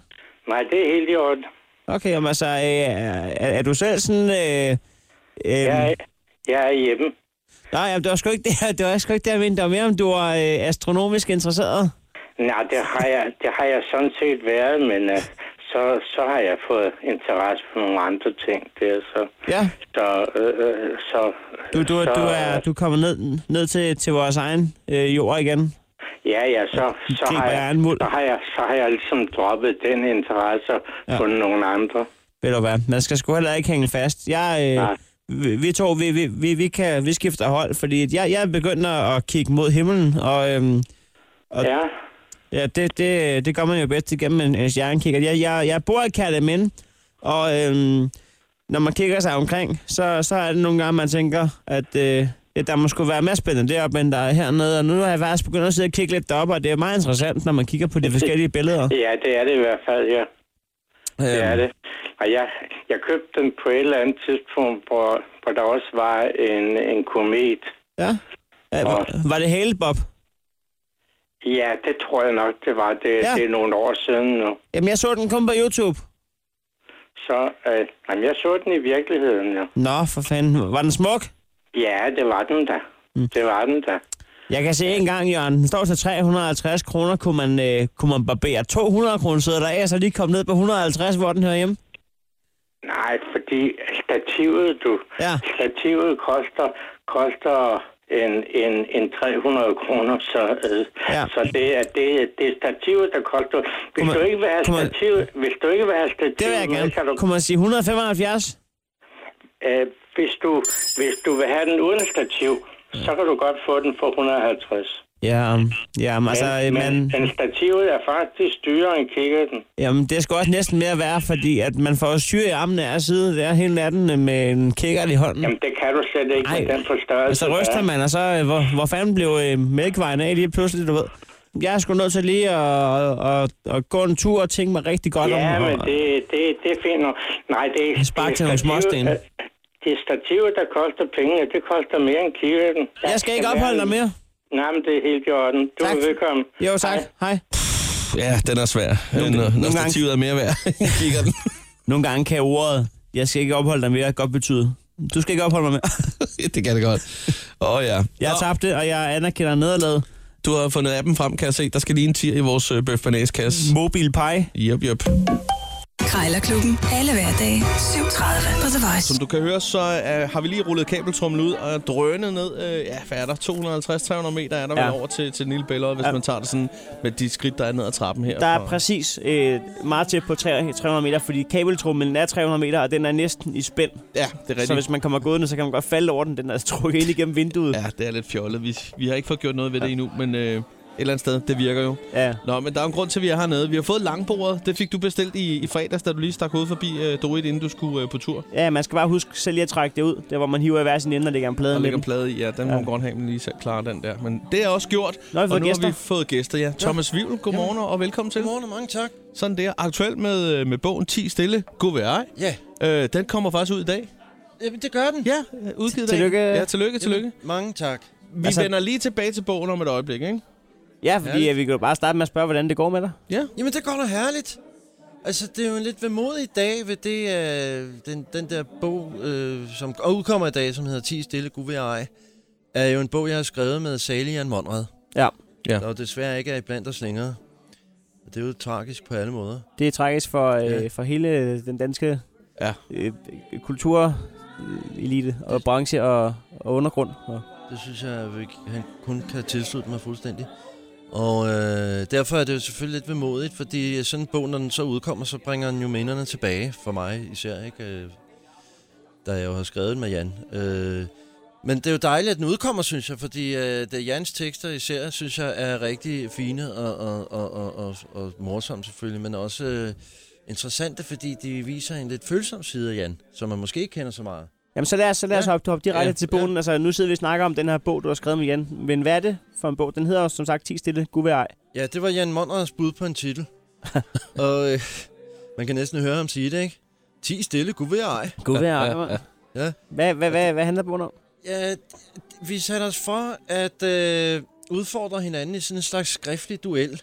[SPEAKER 9] Nej, det er helt i orden.
[SPEAKER 4] Okay, jamen altså, øh, er, er du selv sådan... Øh, øh,
[SPEAKER 9] Jeg, jeg er hjemme.
[SPEAKER 4] Nej, jamen, det var sgu ikke det, her- det var sgu ikke det, jeg mente. Det var mere, om du var øh, astronomisk interesseret.
[SPEAKER 9] Nej, det har jeg, det har jeg sådan set været, men uh, så, så har jeg fået interesse for nogle andre ting der, så...
[SPEAKER 4] Ja,
[SPEAKER 9] Så, øh, øh, så,
[SPEAKER 4] du, du,
[SPEAKER 9] så,
[SPEAKER 4] du, er, du kommer ned, ned til, til vores egen øh, jord igen.
[SPEAKER 9] Ja, ja, så, så,
[SPEAKER 4] Griber
[SPEAKER 9] har
[SPEAKER 4] jeg en muld.
[SPEAKER 9] jeg, så, har jeg, så har jeg ligesom droppet den interesse og
[SPEAKER 4] Ja.
[SPEAKER 9] fundet nogle andre.
[SPEAKER 4] Ved du hvad, man skal sgu heller ikke hænge fast. Jeg, øh,
[SPEAKER 9] Nej.
[SPEAKER 4] vi, vi to, vi, vi, vi, vi, kan, vi skifter hold, fordi at jeg, jeg er begyndt at at kigge mod himlen, og øhm, Og-
[SPEAKER 9] Ja,
[SPEAKER 4] ja, det, det, det gør man jo bedst igennem en, en stjernekikker. Jeg, jeg, jeg bor i Kærteminde, og øhm, når man kigger sig omkring, så, så er det nogle gange, man tænker, at øh, ja, der må sgu være mere spændende deroppe, end der er hernede. Og nu har jeg faktisk begyndt at sidde og kigge lidt deroppe, og det er meget interessant, når man kigger på de forskellige billeder. Øhm,
[SPEAKER 9] ja, det er det i hvert fald, ja. Det er det. Og jeg, jeg købte den på et eller andet tidspunkt, hvor, hvor der også var en, en komet.
[SPEAKER 4] Ja. Ja, var, var det hele, Bob?
[SPEAKER 9] Ja, det tror jeg nok, det var. Det,
[SPEAKER 4] Ja.
[SPEAKER 9] ja. det er nogle år siden nu.
[SPEAKER 4] Jamen, jeg så den kun på YouTube.
[SPEAKER 9] Så øh, jamen, jeg så den i virkeligheden, ja.
[SPEAKER 4] Nå, for fanden. Var den smuk?
[SPEAKER 9] Ja, det var den da.
[SPEAKER 4] Mm.
[SPEAKER 9] Det var den da.
[SPEAKER 4] Jeg kan se en gang, Jørgen. Den står til 350 kroner. Kunne man, øh, kunne man barbere 200 kroner sæder der af, og så lige komme ned på 150, hvor den hører hjemme?
[SPEAKER 9] Nej, fordi stativet, du.
[SPEAKER 4] Ja.
[SPEAKER 9] Stativet koster, koster en, en, en 300 kroner, så, øh,
[SPEAKER 4] Ja.
[SPEAKER 9] ja. så det, er, det, er- det er stativet, der koster. Hvis,
[SPEAKER 4] Kunne man-
[SPEAKER 9] du ikke vil have
[SPEAKER 4] kunne man-
[SPEAKER 9] stativet, hvis du ikke vil have stativet,
[SPEAKER 4] Det vil jeg
[SPEAKER 9] med, kan
[SPEAKER 4] gerne.
[SPEAKER 9] du,
[SPEAKER 4] Kunne man sige 175?
[SPEAKER 9] øh, hvis, du, hvis du vil have den uden stativ, så kan du godt få den for 150.
[SPEAKER 4] Ja, ja men, altså, øh,
[SPEAKER 9] men,
[SPEAKER 4] man,
[SPEAKER 9] men stativet er faktisk dyrere end kikkerten.
[SPEAKER 4] jamen, det skal også næsten mere være, fordi at man får jo syre i armene af side der hele natten øh, med en kikkert i hånden.
[SPEAKER 9] Jamen, altså, det kan du slet ikke
[SPEAKER 4] Ej,
[SPEAKER 9] med den forstørrelse.
[SPEAKER 4] Og så
[SPEAKER 9] der er.
[SPEAKER 4] ryster man, og så øh, hvor, hvor fanden blev øh, mælkevejen af lige pludselig, du ved. Jeg er sgu nødt til lige at, at, at, at gå en tur og tænke mig rigtig godt om.
[SPEAKER 9] Ja,
[SPEAKER 4] om-
[SPEAKER 9] men det, det, det er fint nok. Nej, det er...
[SPEAKER 4] Spark til nogle
[SPEAKER 9] stativet-
[SPEAKER 4] småsten.
[SPEAKER 9] Det er stativet, der koster penge, og det koster mere end kiggerten.
[SPEAKER 4] Jeg skal ikke opholde dig mere.
[SPEAKER 9] Nej, men det er helt i orden. Du
[SPEAKER 4] Tak.
[SPEAKER 9] er velkommen.
[SPEAKER 4] Jo, tak. Hej.
[SPEAKER 3] Ja, den er svær, Øh,
[SPEAKER 4] Nogle-
[SPEAKER 3] når, når
[SPEAKER 4] nogle gange-
[SPEAKER 3] stativet er mere værd. Kigger den.
[SPEAKER 4] Nogle gange kan ordet, jeg skal ikke opholde dig mere, godt betyde, du skal ikke opholde mig mere.
[SPEAKER 3] det kan det godt. Åh oh, ja.
[SPEAKER 4] Jeg tabte, og jeg anerkender nederlaget.
[SPEAKER 3] Du har fundet appen frem, kan jeg se. Der skal lige en tier i vores øh, bøf kasse.
[SPEAKER 4] Mobil Pie.
[SPEAKER 3] Yep, yep.
[SPEAKER 2] Krejlerklubben. Alle hverdage 7.30 på The Voice.
[SPEAKER 3] Som du kan høre, så øh, har vi lige rullet kabeltrummen ud og drønet ned. Øh, ja, hvad er der? 250-300 meter er der ja.
[SPEAKER 4] Ja.
[SPEAKER 3] vel over til, til den lille billede, hvis ja.
[SPEAKER 4] Ja.
[SPEAKER 3] man tager det sådan med de skridt, der er ned ad trappen her.
[SPEAKER 4] Der er
[SPEAKER 3] Og-
[SPEAKER 4] præcis øh, meget tæt på tre- 300 meter, fordi kabeltrummen er 300 meter, og den er næsten i spænd.
[SPEAKER 3] Ja, det er
[SPEAKER 4] Så
[SPEAKER 3] rigtigt.
[SPEAKER 4] hvis man kommer gående, så kan man godt falde over den. Den er trukket ind igennem vinduet.
[SPEAKER 3] Ja, det er lidt fjollet. Vi, vi har ikke fået gjort noget ved det endnu, men øh, et eller andet sted, det virker jo.
[SPEAKER 4] ja.
[SPEAKER 3] Nå, men der er en grund til, at vi er hernede. Vi har fået langbordet. Det fik du bestilt i, i fredags, da du lige stak hovedet forbi øh, Dorit, inden du skulle øh, på tur.
[SPEAKER 4] ja man skal bare huske selv lige at trække det ud. Der hvor man hiver i hver sin ende og lægger en plade
[SPEAKER 3] Der
[SPEAKER 4] med
[SPEAKER 3] ligger en
[SPEAKER 4] den.
[SPEAKER 3] plade i, ja. Den må
[SPEAKER 4] Ja.
[SPEAKER 3] man godt have, men lige selv klare den der. Men det er også gjort.
[SPEAKER 4] Nå, vi har
[SPEAKER 3] og
[SPEAKER 4] fået
[SPEAKER 3] nu har
[SPEAKER 4] gæster.
[SPEAKER 3] vi fået gæster, ja. Thomas Vivl, godmorgen og velkommen til.
[SPEAKER 10] Godmorgen og mange tak.
[SPEAKER 3] Sådan der. Aktuelt med, øh, med bogen 10 stille. God ved ej.
[SPEAKER 10] Ja,
[SPEAKER 3] Øh, den kommer faktisk ud i dag.
[SPEAKER 10] jamen, det gør den.
[SPEAKER 3] Ja, øh, udgivet i dag.
[SPEAKER 4] Tillykke.
[SPEAKER 3] Ja, tillykke, tillykke.
[SPEAKER 10] Jamen, mange tak.
[SPEAKER 3] Vi altså,
[SPEAKER 4] Altså-
[SPEAKER 3] vender lige tilbage til bogen om et øjeblik, ikke?
[SPEAKER 4] Ja, fordi ja, vi kan jo bare starte med at spørge, hvordan det går med dig.
[SPEAKER 10] Jamen, det går da herligt. Altså, det er jo en lidt vemodig dag ved det, øh, den, den der bog, øh, som udkommer i dag, som hedder 10 stille gud ved ej, er jo en bog, jeg har skrevet med Salian Monrad.
[SPEAKER 4] Ja.
[SPEAKER 3] Ja.
[SPEAKER 10] Der jo desværre ikke er i blandt os længere. Og det er jo tragisk på alle måder.
[SPEAKER 4] Det er tragisk for,
[SPEAKER 10] Ja.
[SPEAKER 4] øh, for hele den danske
[SPEAKER 3] Ja.
[SPEAKER 4] øh, kulturelite og branche og, og undergrund. Og,
[SPEAKER 10] Det synes jeg, at vi- han kun kan tilslutte mig fuldstændig. Og øh, derfor er det jo selvfølgelig lidt vemodigt, fordi sådan en bog, når den så udkommer, så bringer den jo minderne tilbage for mig især, ikke? Øh, da jeg jo har skrevet den med Jan. Øh, men det er jo dejligt, at den udkommer, synes jeg, fordi øh, det er Jans tekster især, synes jeg, er rigtig fine og, og, og, og, og, og morsomme selvfølgelig, men også øh, interessante, fordi de viser en lidt følsom side af Jan, som man måske ikke kender så meget.
[SPEAKER 4] Jamen så lad os, så lad os
[SPEAKER 10] Ja.
[SPEAKER 4] hoppe, hoppe direkte
[SPEAKER 10] Ja,
[SPEAKER 4] til bogen. Altså nu sidder vi og snakker om den her bog, du har skrevet med Jan. Men hvad er det for en bog? Den hedder jo som sagt 10 stille, gud ved ej.
[SPEAKER 10] Ja, det var Jan Monrads bud på en titel. og øh, man kan næsten høre ham sige det, ikke? 10 stille, gud ved ej.
[SPEAKER 4] Gud ved ej, mand.
[SPEAKER 10] Ja.
[SPEAKER 4] Hvad, hvad, hvad, hvad handler bogen om?
[SPEAKER 10] Ja, d- vi satte os for at øh, udfordre hinanden i sådan en slags skriftlig duel.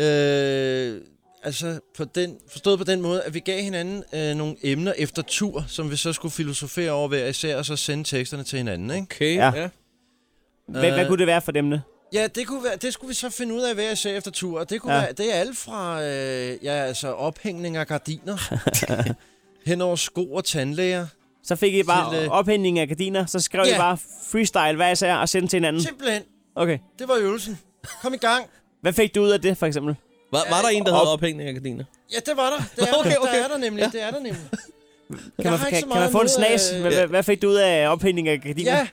[SPEAKER 10] øh, altså, på den, forstået på den måde, at vi gav hinanden øh, nogle emner efter tur, som vi så skulle filosofere over hver især, og så sende teksterne til hinanden, ikke?
[SPEAKER 3] Okay,
[SPEAKER 4] Ja.
[SPEAKER 3] ja.
[SPEAKER 4] Hvad,
[SPEAKER 10] Øh,
[SPEAKER 4] hvad kunne det være for emne?
[SPEAKER 10] Ja, det, kunne være, det skulle vi så finde ud af hver især efter tur. Og det, kunne
[SPEAKER 4] Ja.
[SPEAKER 10] ja. være, det er alt fra øh, ja, altså ophængning af gardiner, hen over sko og tandlæger.
[SPEAKER 4] Så fik I bare
[SPEAKER 10] Til,
[SPEAKER 4] til,
[SPEAKER 10] øh,
[SPEAKER 4] ophængning af gardiner, så skrev
[SPEAKER 10] Ja.
[SPEAKER 4] I bare freestyle, hvad især, og sendte til hinanden.
[SPEAKER 10] Simpelthen,
[SPEAKER 4] Okay.
[SPEAKER 10] det var øvelsen. Kom i gang.
[SPEAKER 4] Hvad fik du ud af det, for eksempel?
[SPEAKER 3] Var, var der en, der havde ophængning af gardiner?
[SPEAKER 10] Ja, det var der. Det er,
[SPEAKER 3] Okay,
[SPEAKER 10] okay, okay.
[SPEAKER 3] okay.
[SPEAKER 10] Der er der nemlig. Det er der nemlig.
[SPEAKER 4] Kan, man,
[SPEAKER 10] har ikke
[SPEAKER 4] kan,
[SPEAKER 10] så
[SPEAKER 4] kan man
[SPEAKER 10] meget
[SPEAKER 4] få en
[SPEAKER 10] imod,
[SPEAKER 4] snas?
[SPEAKER 10] øh,
[SPEAKER 4] Hvad, hvad, hvad fik du ud af ophængning af gardiner?
[SPEAKER 10] Ja,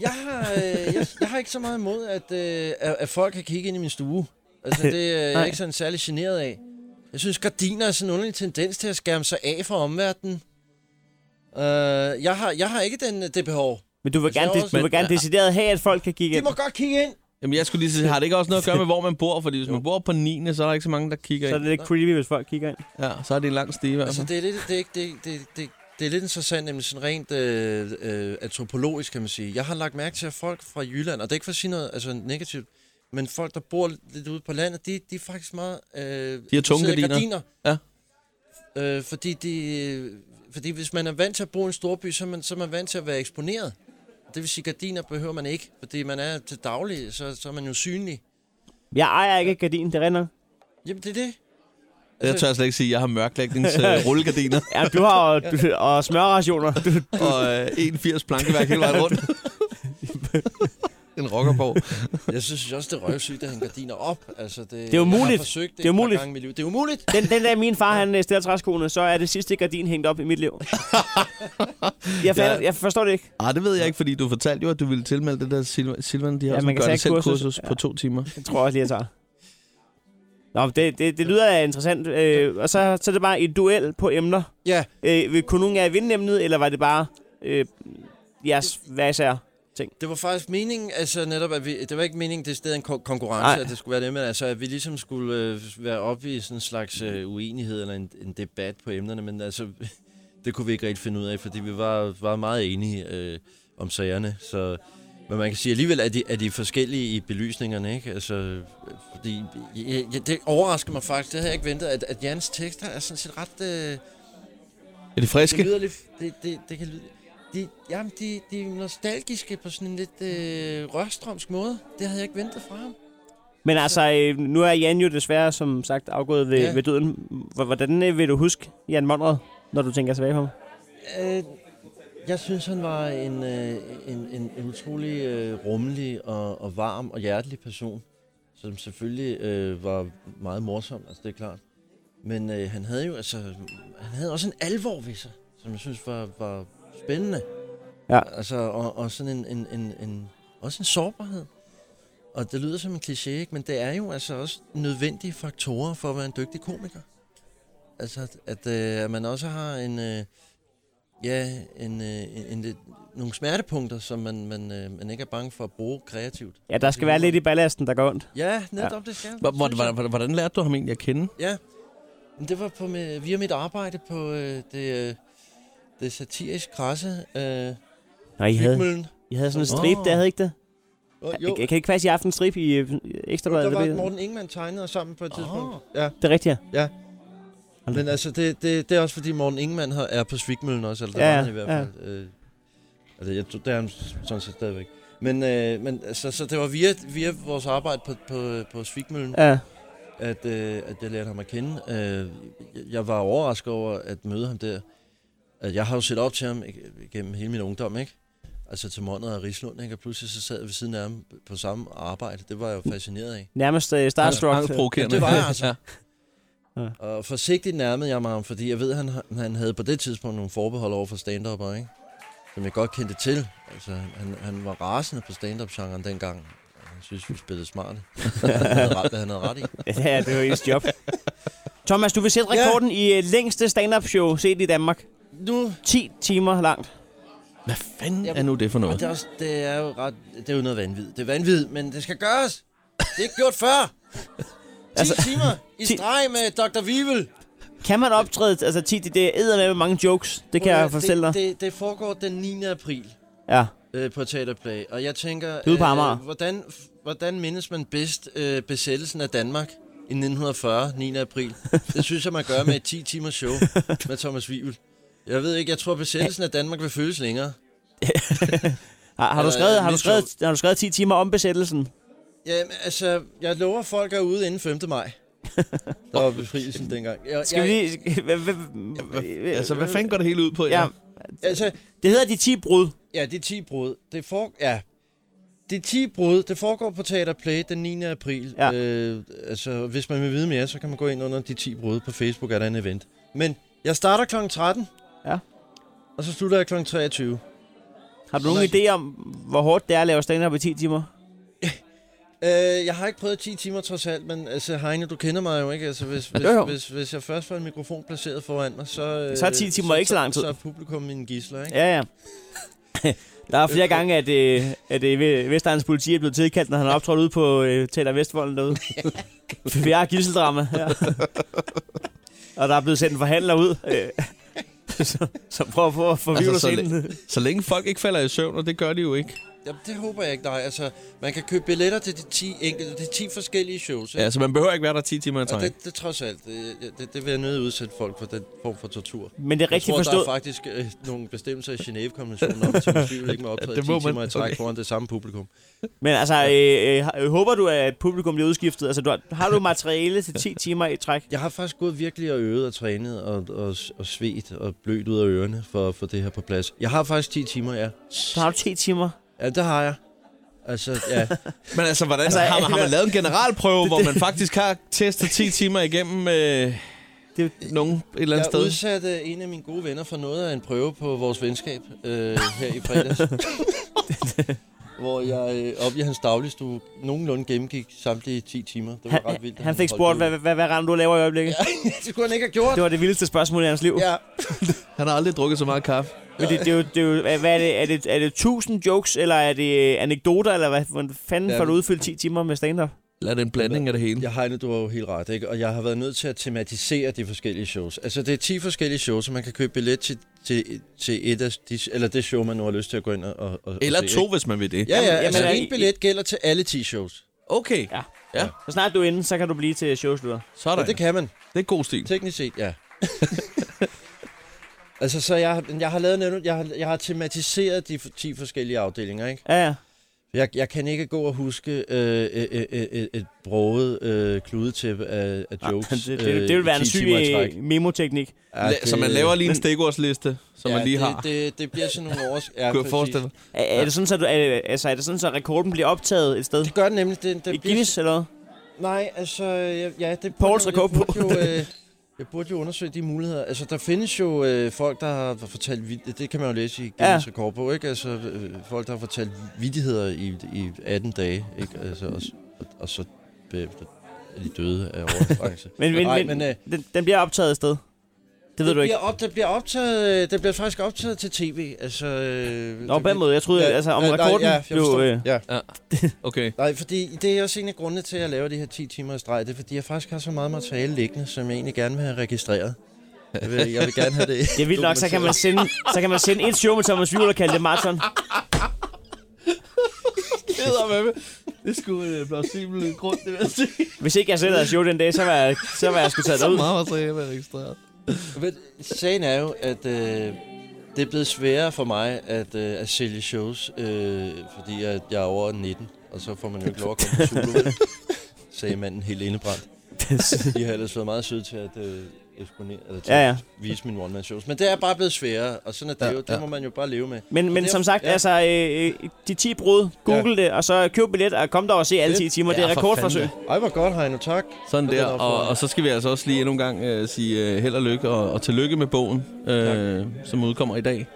[SPEAKER 10] jeg har, øh, jeg, jeg har ikke så meget imod, at, øh, at, at folk kan kigge ind i min stue. Altså, det øh, jeg er
[SPEAKER 4] Nej.
[SPEAKER 10] jeg ikke sådan særlig generet af. Jeg synes, gardiner er sådan en underlig tendens til at skærme sig af fra omverdenen. Uh, jeg, har, jeg har ikke den, det behov.
[SPEAKER 4] Men du vil
[SPEAKER 10] Jeg
[SPEAKER 4] gerne,
[SPEAKER 10] ser
[SPEAKER 4] det,
[SPEAKER 10] også-
[SPEAKER 4] du vil gerne decideret have, at folk kan kigge
[SPEAKER 10] De
[SPEAKER 4] ind.
[SPEAKER 10] må godt kigge ind.
[SPEAKER 3] Jamen, jeg skulle lige sige, har det ikke også noget at gøre med, hvor man bor? Fordi hvis man bor på 9. så er der ikke så mange, der kigger
[SPEAKER 4] Så er
[SPEAKER 3] ind.
[SPEAKER 4] det lidt creepy, hvis folk kigger ind.
[SPEAKER 3] Ja, så er det en lang stige i hvert
[SPEAKER 10] Altså,
[SPEAKER 3] fald.
[SPEAKER 10] det er lidt, det er, ikke- det, det, det, det er lidt interessant, nemlig sådan rent øh, øh, antropologisk, kan man sige. Jeg har lagt mærke til, at folk fra Jylland, og det er ikke for at sige noget altså, negativt, men folk, der bor lidt ude på landet, de, de er faktisk meget... Øh,
[SPEAKER 3] har tunge
[SPEAKER 10] interesserede i
[SPEAKER 3] gardiner.
[SPEAKER 10] gardiner. Øh, fordi, de, øh, fordi hvis man er vant til at bo i en storby, så er man, så er man vant til at være eksponeret. Det vil sige, gardiner behøver man ikke, fordi man er til daglig, så, så er man jo synlig.
[SPEAKER 4] Jeg ejer ikke gardinen, det render.
[SPEAKER 10] Jamen, det er det.
[SPEAKER 3] Jeg
[SPEAKER 10] Altså-
[SPEAKER 3] tør slet ikke sige, at jeg har mørklægnings øh, rullegardiner
[SPEAKER 4] Ja, du har og, du, og smørrationer. Du,
[SPEAKER 3] og øh, 81 plankeværk hele vejen rundt. en rockerborg.
[SPEAKER 10] Jeg synes også, det er røvsygt at hænge gardiner op. Altså, det,
[SPEAKER 4] er umuligt.
[SPEAKER 10] Jeg har forsøgt det,
[SPEAKER 4] Det er
[SPEAKER 10] et par
[SPEAKER 4] umuligt.
[SPEAKER 10] Gange i mit liv. Det er umuligt.
[SPEAKER 4] den, den dag min far han øh, stiller træskoene, så er det sidste gardin hængt op i mit liv. jeg, fatter,
[SPEAKER 3] Ja.
[SPEAKER 4] jeg forstår det ikke.
[SPEAKER 3] Ah, det ved jeg ikke, fordi du fortalte jo, at du ville tilmelde det der Silva- Silvan, de har
[SPEAKER 4] Ja,
[SPEAKER 3] ja,
[SPEAKER 4] man
[SPEAKER 3] sådan
[SPEAKER 4] kan
[SPEAKER 3] gør det
[SPEAKER 4] tage
[SPEAKER 3] selv
[SPEAKER 4] et kursus.
[SPEAKER 3] kursus på to timer.
[SPEAKER 4] Det tror jeg også lige, jeg tager. Nå, men det, det, det lyder da interessant. Øh, og så, så er det bare et duel på emner.
[SPEAKER 10] Ja,
[SPEAKER 4] Øh, vil- kunne nogen af jer vinde emnet, eller var det bare øh, jeres hvad især?
[SPEAKER 10] det var faktisk meningen, altså netop, at vi, det var ikke meningen, det er stadig en ko- konkurrence,
[SPEAKER 4] Nej.
[SPEAKER 10] at det skulle være det, men altså, at vi ligesom skulle øh, være oppe i sådan en slags øh, uenighed eller en, en debat på emnerne, men altså, Det kunne vi ikke rigtig finde ud af, fordi vi var, var meget enige øh, om sagerne. Så, men man kan sige, alligevel er de, er de forskellige i belysningerne, ikke? Altså, øh, fordi, ja, ja, det overrasker mig faktisk. Det havde jeg ikke ventet, at, at Jans tekster er sådan set ret... Øh,
[SPEAKER 3] Er det friske?
[SPEAKER 10] det lyder lidt... Det, det, det kan lyde... De, jamen, de, de er nostalgiske på sådan en lidt øh, rørstrømsk måde. Det havde jeg ikke ventet fra ham.
[SPEAKER 4] Men altså, øh, nu er Jan jo desværre, som sagt, afgået ved,
[SPEAKER 10] Ja.
[SPEAKER 4] ja. ved døden. H- Hvordan øh, vil du huske Jan Monrad, når du tænker tilbage på ham?
[SPEAKER 10] Øh, jeg synes, han var en, øh, en, en, en utrolig øh, rummelig og, og varm og hjertelig person, som selvfølgelig øh, var meget morsom, altså det er klart. Men øh, han havde jo altså, han havde også en alvor ved sig, som jeg synes var, var spændende.
[SPEAKER 4] Ja.
[SPEAKER 10] Altså, og, og sådan en, en, en, en, også en sårbarhed. Og det lyder som en kliché, ikke? men det er jo altså også nødvendige faktorer for at være en dygtig komiker. Altså, at, at, øh, at man også har en, øh, ja, en, øh, en, en lidt, nogle smertepunkter, som man, man, øh, man ikke er bange for at bruge kreativt.
[SPEAKER 4] Ja, der skal være lidt i ballasten, der går ondt.
[SPEAKER 10] Ja, netop ja. det skal.
[SPEAKER 3] Hvor- hvor- Hvordan, hvordan lærte du ham egentlig at kende?
[SPEAKER 10] Ja, Men det var på med, via mit arbejde på øh, det, øh, det satirisk krasse. Øh,
[SPEAKER 4] Nå, I havde,
[SPEAKER 10] Fygmøllen.
[SPEAKER 4] I havde sådan en
[SPEAKER 10] Som-
[SPEAKER 4] strip, der havde I ikke det?
[SPEAKER 10] Åh,
[SPEAKER 4] jo. Kan I ikke faktisk i aften strip i øh, ekstrabladet?
[SPEAKER 10] der var
[SPEAKER 4] eller hvad?
[SPEAKER 10] Morten Ingemann tegnet os sammen på et tidspunkt.
[SPEAKER 3] Ah.
[SPEAKER 10] Ja.
[SPEAKER 4] Det er rigtigt, ja.
[SPEAKER 10] Ja. Men altså, det, det, det er også fordi Morten Ingemann har, er på Svigmøllen også, eller der
[SPEAKER 4] Ja,
[SPEAKER 10] ja, var
[SPEAKER 4] ja,
[SPEAKER 10] han i hvert
[SPEAKER 4] ja.
[SPEAKER 10] fald. Øh, altså, jeg, tror- det er han sådan set stadigvæk. Men, øh, men altså, så det var via, via vores arbejde på, på, på Svigmøllen,
[SPEAKER 4] Ja.
[SPEAKER 10] at, øh, at jeg lærte ham at kende. Øh, jeg- jeg var overrasket over at møde ham der. Altså, Jeg har jo set op til ham ig- gennem hele min ungdom, ikke? Altså til Mondet og Rislund, ikke? Og pludselig så sad jeg ved siden af ham på samme arbejde. Det var jeg jo fascineret af.
[SPEAKER 4] Nærmest øh,
[SPEAKER 3] altså
[SPEAKER 4] starstruck.
[SPEAKER 10] Ja, det var jeg altså. ja. Og forsigtigt nærmede jeg mig ham, fordi jeg ved, at han, han havde på det tidspunkt nogle forbehold over for stand ikke? Som jeg godt kendte til. Altså, han, han var rasende på stand-up-genren dengang. Han synes, vi spillede smarte. han havde ret, hvad han havde ret i.
[SPEAKER 4] ja, det var ens job. Thomas, du vil sætte rekorden i øh, længste stand-up show set i Danmark.
[SPEAKER 10] Nu...
[SPEAKER 4] 10 timer langt.
[SPEAKER 3] Hvad fanden er nu det for
[SPEAKER 10] Og
[SPEAKER 3] noget?
[SPEAKER 10] det, er også, det er jo ret, det er jo noget vanvid. Det er vanvid, men det skal gøres. Det er ikke gjort før. 10 altså, timer i
[SPEAKER 4] ti-
[SPEAKER 10] streg med Dr. Vivel.
[SPEAKER 4] Kan man optræde, altså 10, det- det æder med mange jokes, det kan jeg fortælle dig.
[SPEAKER 10] Det, det, det foregår den 9. april.
[SPEAKER 4] Ja,
[SPEAKER 10] øh, på Teaterplay, og jeg tænker, øh,
[SPEAKER 4] Ude på Amager.
[SPEAKER 10] hvordan, hvordan mindes man bedst øh, besættelsen af Danmark i 1940, 9. april? Det synes jeg, man gør med et 10 timers show med Thomas Wivel. Jeg ved ikke, jeg tror, besættelsen af Danmark vil føles længere.
[SPEAKER 4] har, har, du
[SPEAKER 10] Eller,
[SPEAKER 4] skrevet,
[SPEAKER 10] øh,
[SPEAKER 4] har, du
[SPEAKER 10] nyt
[SPEAKER 4] skrevet, har du skrevet 10 timer om besættelsen?
[SPEAKER 10] Ja, altså, jeg lover folk er ude inden 5. maj. Der var befrielsen dengang. Jeg,
[SPEAKER 4] Skal vi
[SPEAKER 10] jeg,
[SPEAKER 4] lige... hva- hva-
[SPEAKER 3] Altså, hvad fanden går det hele ud på?
[SPEAKER 4] Ja,
[SPEAKER 10] altså,
[SPEAKER 4] det hedder de 10 brud.
[SPEAKER 10] ja, det er 10 brud. Det for, ja, det er 10 brud. Det foregår på Teater Play den 9. april.
[SPEAKER 4] Ja.
[SPEAKER 10] Øh, altså, hvis man vil vide mere, så kan man gå ind under de 10 brud på Facebook, er der en event. Men jeg starter kl. 13.
[SPEAKER 4] Ja.
[SPEAKER 10] Og så slutter jeg kl. 23.
[SPEAKER 4] Har du nogen idé om, hvor hårdt det er at lave stand-up i 10 timer?
[SPEAKER 10] Øh, jeg har ikke prøvet 10 timer trods alt, men altså, Heine, du kender mig jo ikke. Altså, hvis, hvis,
[SPEAKER 4] Jo, jo.
[SPEAKER 10] Hvis, hvis jeg først får en mikrofon placeret foran mig, så... Øh,
[SPEAKER 4] Så er 10 timer ikke så lang tid.
[SPEAKER 10] Så er publikum min gisler, ikke?
[SPEAKER 4] Ja, ja. Der er flere gange, at, øh, at øh, Vestegns politi er blevet tilkaldt, når han er optrådt ude på øh, Teater Vestvolden derude. For vi har gisseldrama her. Og der er blevet sendt en forhandler ud, øh, som, som prøver på at forvirre
[SPEAKER 3] Altså,
[SPEAKER 4] altså,
[SPEAKER 3] så,
[SPEAKER 4] scenen.
[SPEAKER 3] læ- så længe folk ikke falder i søvn, og det gør de jo ikke.
[SPEAKER 10] Jamen, det håber jeg ikke, nej. Altså, man kan købe billetter til de 10, enkelte, de 10 forskellige shows, ikke?
[SPEAKER 3] Ja, så man behøver ikke være der 10 timer i
[SPEAKER 10] Og
[SPEAKER 3] træk.
[SPEAKER 10] det, det trods alt, det, det, det vil jeg nødt udsætte folk for den form for tortur.
[SPEAKER 4] Men det er rigtigt
[SPEAKER 10] jeg tror,
[SPEAKER 4] forstået.
[SPEAKER 10] der er faktisk øh, nogle bestemmelser i Genève-konventionen om, at Thomas Wivel ikke må optræde
[SPEAKER 3] Det
[SPEAKER 10] 10
[SPEAKER 3] må man.
[SPEAKER 10] timer i træk
[SPEAKER 3] Okay.
[SPEAKER 10] foran det samme publikum.
[SPEAKER 4] Men altså, øh, øh, har- øh, håber du, at publikum bliver udskiftet? Altså, du har, har du materiale til 10 timer i træk?
[SPEAKER 10] Jeg har faktisk gået virkelig og øvet og trænet og, og, og svedt og blødt ud af ørerne for at få det her på plads. Jeg har faktisk 10 timer, ja.
[SPEAKER 4] Så har du 10 timer.
[SPEAKER 10] Ja, det har jeg. Altså, ja.
[SPEAKER 3] Men altså, hvordan, altså har, man, har man lavet en generalprøve, hvor man faktisk har testet 10 timer igennem øh,
[SPEAKER 4] Det-
[SPEAKER 3] nogen et eller andet
[SPEAKER 10] Jeg
[SPEAKER 3] sted?
[SPEAKER 10] udsatte en af mine gode venner for noget af en prøve på vores venskab øh, her i fredags. hvor jeg øh, oppe i hans dagligstue nogenlunde gennemgik samtlige 10 timer. Det var
[SPEAKER 4] Han,
[SPEAKER 10] ret vildt. at
[SPEAKER 4] han fik
[SPEAKER 10] holdt
[SPEAKER 4] spurgt,
[SPEAKER 10] ud.
[SPEAKER 4] hvad, hvad, hvad Rand, du laver i øjeblikket. Ja.
[SPEAKER 10] det skulle han ikke have gjort.
[SPEAKER 4] Det var det vildeste spørgsmål i hans liv.
[SPEAKER 10] Ja.
[SPEAKER 3] Han har aldrig drukket så meget kaffe.
[SPEAKER 4] Men det, det, er jo, det er jo, hvad hvad er det, er det, er det 1000 jokes, eller er det øh, anekdoter, eller hvad hvordan fanden
[SPEAKER 10] Ja,
[SPEAKER 4] får du
[SPEAKER 10] men-
[SPEAKER 4] udfyldt 10 timer med stand-up?
[SPEAKER 3] Eller er det en blanding af det hele?
[SPEAKER 10] Jeg Heine, du har jo helt ret, ikke? Og jeg har været nødt til at tematisere de forskellige shows. Altså, det er 10 forskellige shows, og man kan købe billet til, til, til et af de, eller det show, man nu har lyst til at gå ind og, og- og
[SPEAKER 3] Eller
[SPEAKER 10] se,
[SPEAKER 3] to,
[SPEAKER 10] ikke?
[SPEAKER 3] hvis man vil det.
[SPEAKER 10] Ja, ja,
[SPEAKER 4] Jamen,
[SPEAKER 10] altså
[SPEAKER 4] jamen,
[SPEAKER 10] en
[SPEAKER 4] i-
[SPEAKER 10] billet gælder til alle 10 shows.
[SPEAKER 3] Okay.
[SPEAKER 4] Ja.
[SPEAKER 3] Ja.
[SPEAKER 4] Så snart du er inde, så kan du blive til showslutter.
[SPEAKER 3] Sådan.
[SPEAKER 10] Og det kan man.
[SPEAKER 3] det er god stil.
[SPEAKER 10] Teknisk set, ja. altså, så jeg, har- jeg har lavet noget, jeg har, jeg har tematiseret de 10 forskellige afdelinger, ikke?
[SPEAKER 4] Ja, ja.
[SPEAKER 10] Jeg, jeg kan ikke gå og huske øh, øh, øh, øh, øh, et broget øh, kludetæppe af, af jokes.
[SPEAKER 4] det, det, det, det vil være en syg øh, memoteknik.
[SPEAKER 3] La- Så man laver lige en stikordsliste, som man lige har.
[SPEAKER 10] Det, det, det bliver sådan nogle års... Ja,
[SPEAKER 3] Kunne jeg
[SPEAKER 10] præcis.
[SPEAKER 3] forestille mig.
[SPEAKER 4] Er, er, det sådan, så du, er, altså, er det sådan, så rekorden bliver optaget et sted?
[SPEAKER 10] Det gør det nemlig. Det, det
[SPEAKER 4] I Guinness eller hvad?
[SPEAKER 10] Nej, altså... jeg- Ja, det
[SPEAKER 4] Poul
[SPEAKER 10] burde-
[SPEAKER 4] skal
[SPEAKER 10] jeg
[SPEAKER 4] gå på.
[SPEAKER 10] burde Jo, øh, jeg burde jo undersøge de muligheder. Altså, der findes jo øh, folk, der har fortalt... vid- Det kan man jo læse i Guinness ja. Rekord på, ikke? Altså, øh, folk, der har fortalt vidtigheder i, i 18 dage, ikke? Altså, og, s- og, og så bagefter er de døde af overfangelse.
[SPEAKER 4] Men, men,
[SPEAKER 10] Nej,
[SPEAKER 4] men,
[SPEAKER 10] men, øh,
[SPEAKER 4] den, den bliver optaget et sted. Det ved
[SPEAKER 10] det
[SPEAKER 4] du ikke.
[SPEAKER 10] Bliver op, det, bliver optaget, øh, det bliver faktisk optaget til tv. Altså, øh,
[SPEAKER 4] Nå, på den måde. Jeg troede, altså, om
[SPEAKER 10] øh,
[SPEAKER 4] rekorden
[SPEAKER 10] nej, ja, jeg
[SPEAKER 4] blev,
[SPEAKER 10] forstår.
[SPEAKER 4] øh,
[SPEAKER 10] ja.
[SPEAKER 3] Okay.
[SPEAKER 10] Nej, fordi det er også en af grundene til, at jeg laver de her 10 timer i streg. Det er, fordi jeg faktisk har så meget materiale liggende, som jeg egentlig gerne vil have registreret. Jeg vil, jeg vil gerne have det.
[SPEAKER 4] Det er vildt nok, så kan man sende, så kan man sende et show med Thomas Vivl og kalde det maraton.
[SPEAKER 3] Det er sgu øh, en plausibel grund, det vil jeg sige.
[SPEAKER 4] Hvis ikke jeg selv havde show den dag, så var jeg, så var jeg sgu taget derud.
[SPEAKER 3] Meget materiale er registreret.
[SPEAKER 10] Men sagen er jo, at øh, det er blevet sværere for mig at, øh, at sælge shows, øh, fordi jeg, jeg er over 19, og så får man jo ikke lov at komme på solo, sagde manden helt indebrændt. De har ellers været meget søde til at øh, eksponere, eller til
[SPEAKER 4] Ja,
[SPEAKER 10] ja,
[SPEAKER 4] ja.
[SPEAKER 10] ja. at vise mine one-man-shows. Men det er bare blevet sværere, og sådan er det
[SPEAKER 3] Ja,
[SPEAKER 10] ja, jo. Det
[SPEAKER 3] ja.
[SPEAKER 10] ja. må man jo bare leve med.
[SPEAKER 4] Men, men
[SPEAKER 10] Det er-
[SPEAKER 4] som sagt,
[SPEAKER 10] ja.
[SPEAKER 4] altså, øh, øh, de 10 brud, google det, og så køb billet og kom der og se alle 10 timer. Det er
[SPEAKER 3] Ja, for
[SPEAKER 4] rekordforsøg.
[SPEAKER 3] fanden
[SPEAKER 10] Ej, hvor godt, Heino. Tak.
[SPEAKER 3] Sådan
[SPEAKER 10] For den
[SPEAKER 3] der, og,
[SPEAKER 10] opfordring.
[SPEAKER 3] og så skal vi altså også lige endnu en gang øh, sige øh, held og lykke, og, og tillykke med bogen, øh, som udkommer i dag.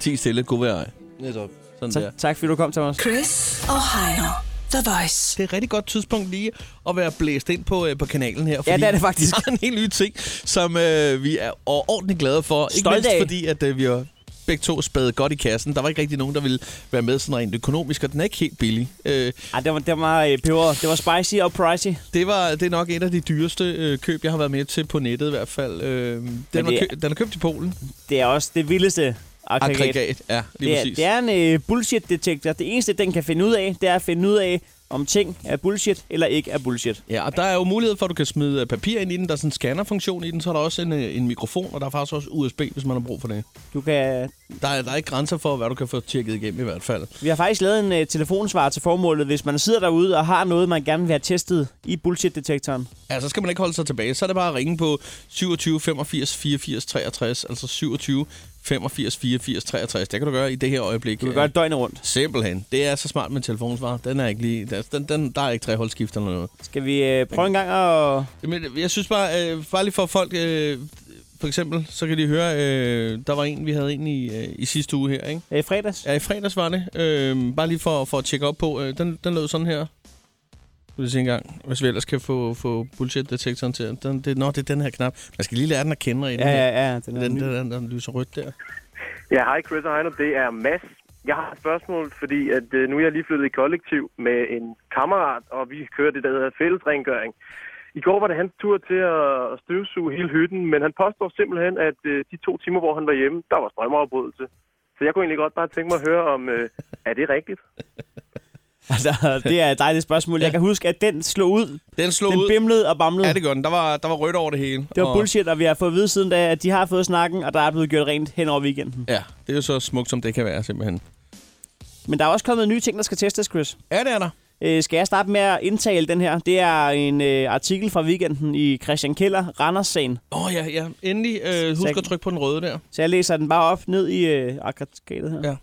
[SPEAKER 3] 10 stille, god vejr. ej.
[SPEAKER 10] Netop.
[SPEAKER 3] Sådan der.
[SPEAKER 4] Tak, tak fordi du kom, Thomas.
[SPEAKER 2] Chris og Heino. The Voice.
[SPEAKER 3] Det er et rigtig godt tidspunkt lige at være blæst ind på, øh, på kanalen her.
[SPEAKER 4] det er det faktisk.
[SPEAKER 3] Der er en helt ny ting, som øh, vi er overordentlig glade for. Ikke
[SPEAKER 4] Stolte
[SPEAKER 3] mindst
[SPEAKER 4] af.
[SPEAKER 3] fordi, at øh, vi har begge to spadet godt i kassen. Der var ikke rigtig nogen, der ville være med sådan rent økonomisk, og den er ikke helt billig. Øh,
[SPEAKER 4] Ej, det var, det var øh, peber. Det var spicy og pricey.
[SPEAKER 3] det, var, det er nok et af de dyreste øh, køb, jeg har været med til på nettet i hvert fald. Øh, den,
[SPEAKER 4] det
[SPEAKER 3] var
[SPEAKER 4] er-
[SPEAKER 3] kø- den er købt i Polen.
[SPEAKER 4] Det er også det vildeste aggregat.
[SPEAKER 3] Aggregat, ja, lige
[SPEAKER 4] Det er,
[SPEAKER 3] præcis.
[SPEAKER 4] det er en øh, bullshit-detektor. Det eneste, den kan finde ud af, det er at finde ud af, om ting er bullshit eller ikke er bullshit.
[SPEAKER 3] Ja, og der er jo mulighed for, at du kan smide øh, papir ind i den. Der er sådan en scanner-funktion i den, så er der også en, øh, en mikrofon, og der er faktisk også USB, hvis man har brug for det.
[SPEAKER 4] Du kan,
[SPEAKER 3] Der er, der er ikke grænser for, hvad du kan få tjekket igennem i hvert fald.
[SPEAKER 4] vi har faktisk lavet en øh, telefonsvar til formålet, hvis man sidder derude og har noget, man gerne vil have testet i bullshit-detektoren.
[SPEAKER 3] Ja, Altså, så skal man ikke holde sig tilbage. Så er det bare at ringe på 27 85 84 63, altså 27 85 84 63. Det kan du gøre i det her øjeblik. Øh,
[SPEAKER 4] Du kan gøre det døgnet rundt.
[SPEAKER 3] Simpelthen. Det er så smart med telefonsvar. Den er ikke lige... Der, den, den, der er ikke treholdsskift eller noget.
[SPEAKER 4] Skal vi øh, prøve en gang at...
[SPEAKER 3] Jamen, jeg synes bare, øh, bare lige for folk... Øh, for eksempel, så kan de høre... Øh, der var en, vi havde en i, øh, i sidste uge her, ikke?
[SPEAKER 4] Ja, i fredags?
[SPEAKER 3] Ja, i fredags var det. Øh, bare lige for, for at tjekke op på. Øh, den, den lød sådan her. Skal vi se en gang, hvis vi ellers kan få, få bullshit-detektoren til. Den, det, nå, det er den her knap. Man skal lige lære den at kende i
[SPEAKER 4] Ja, ja, ja. Den
[SPEAKER 3] Den,
[SPEAKER 4] er
[SPEAKER 3] den,
[SPEAKER 4] ny.
[SPEAKER 3] den, den, den lyser rødt der.
[SPEAKER 5] Ja, hej Chris og Heino, det er Mads. Jeg har et spørgsmål, fordi at, øh, nu er jeg lige flyttet i kollektiv med en kammerat, og vi kører det, der hedder fællesrengøring. I går var det hans tur til at støvsuge hele hytten, men han påstår simpelthen, at øh, de to timer, hvor han var hjemme, der var strømafbrydelse. Så jeg kunne egentlig godt bare tænke mig at høre, om øh, er det rigtigt?
[SPEAKER 4] Altså, det er et dejligt spørgsmål. Jeg kan huske, at den slog ud.
[SPEAKER 3] Den slog
[SPEAKER 4] Den
[SPEAKER 3] ud.
[SPEAKER 4] bimlede og bamlede.
[SPEAKER 3] Ja, det gjorde den. Der var, der var rødt over det hele.
[SPEAKER 4] det var
[SPEAKER 3] Og-
[SPEAKER 4] bullshit, og vi har fået at vide siden da, at de har fået snakken, og der er blevet gjort rent hen over weekenden.
[SPEAKER 3] Ja, det er jo så smukt, som det kan være, simpelthen.
[SPEAKER 4] Men der er også kommet nye ting, der skal testes, Chris.
[SPEAKER 3] Ja, det er der.
[SPEAKER 4] Øh, skal jeg starte med at indtale den her? Det er en øh, artikel fra weekenden i Christian Keller, Randers-sagen.
[SPEAKER 3] Åh, oh, ja, ja. Endelig øh, husk
[SPEAKER 4] Sæk.
[SPEAKER 3] at trykke på den røde der.
[SPEAKER 4] Så jeg læser den bare op ned i øh, aggregatet her.
[SPEAKER 3] Ja.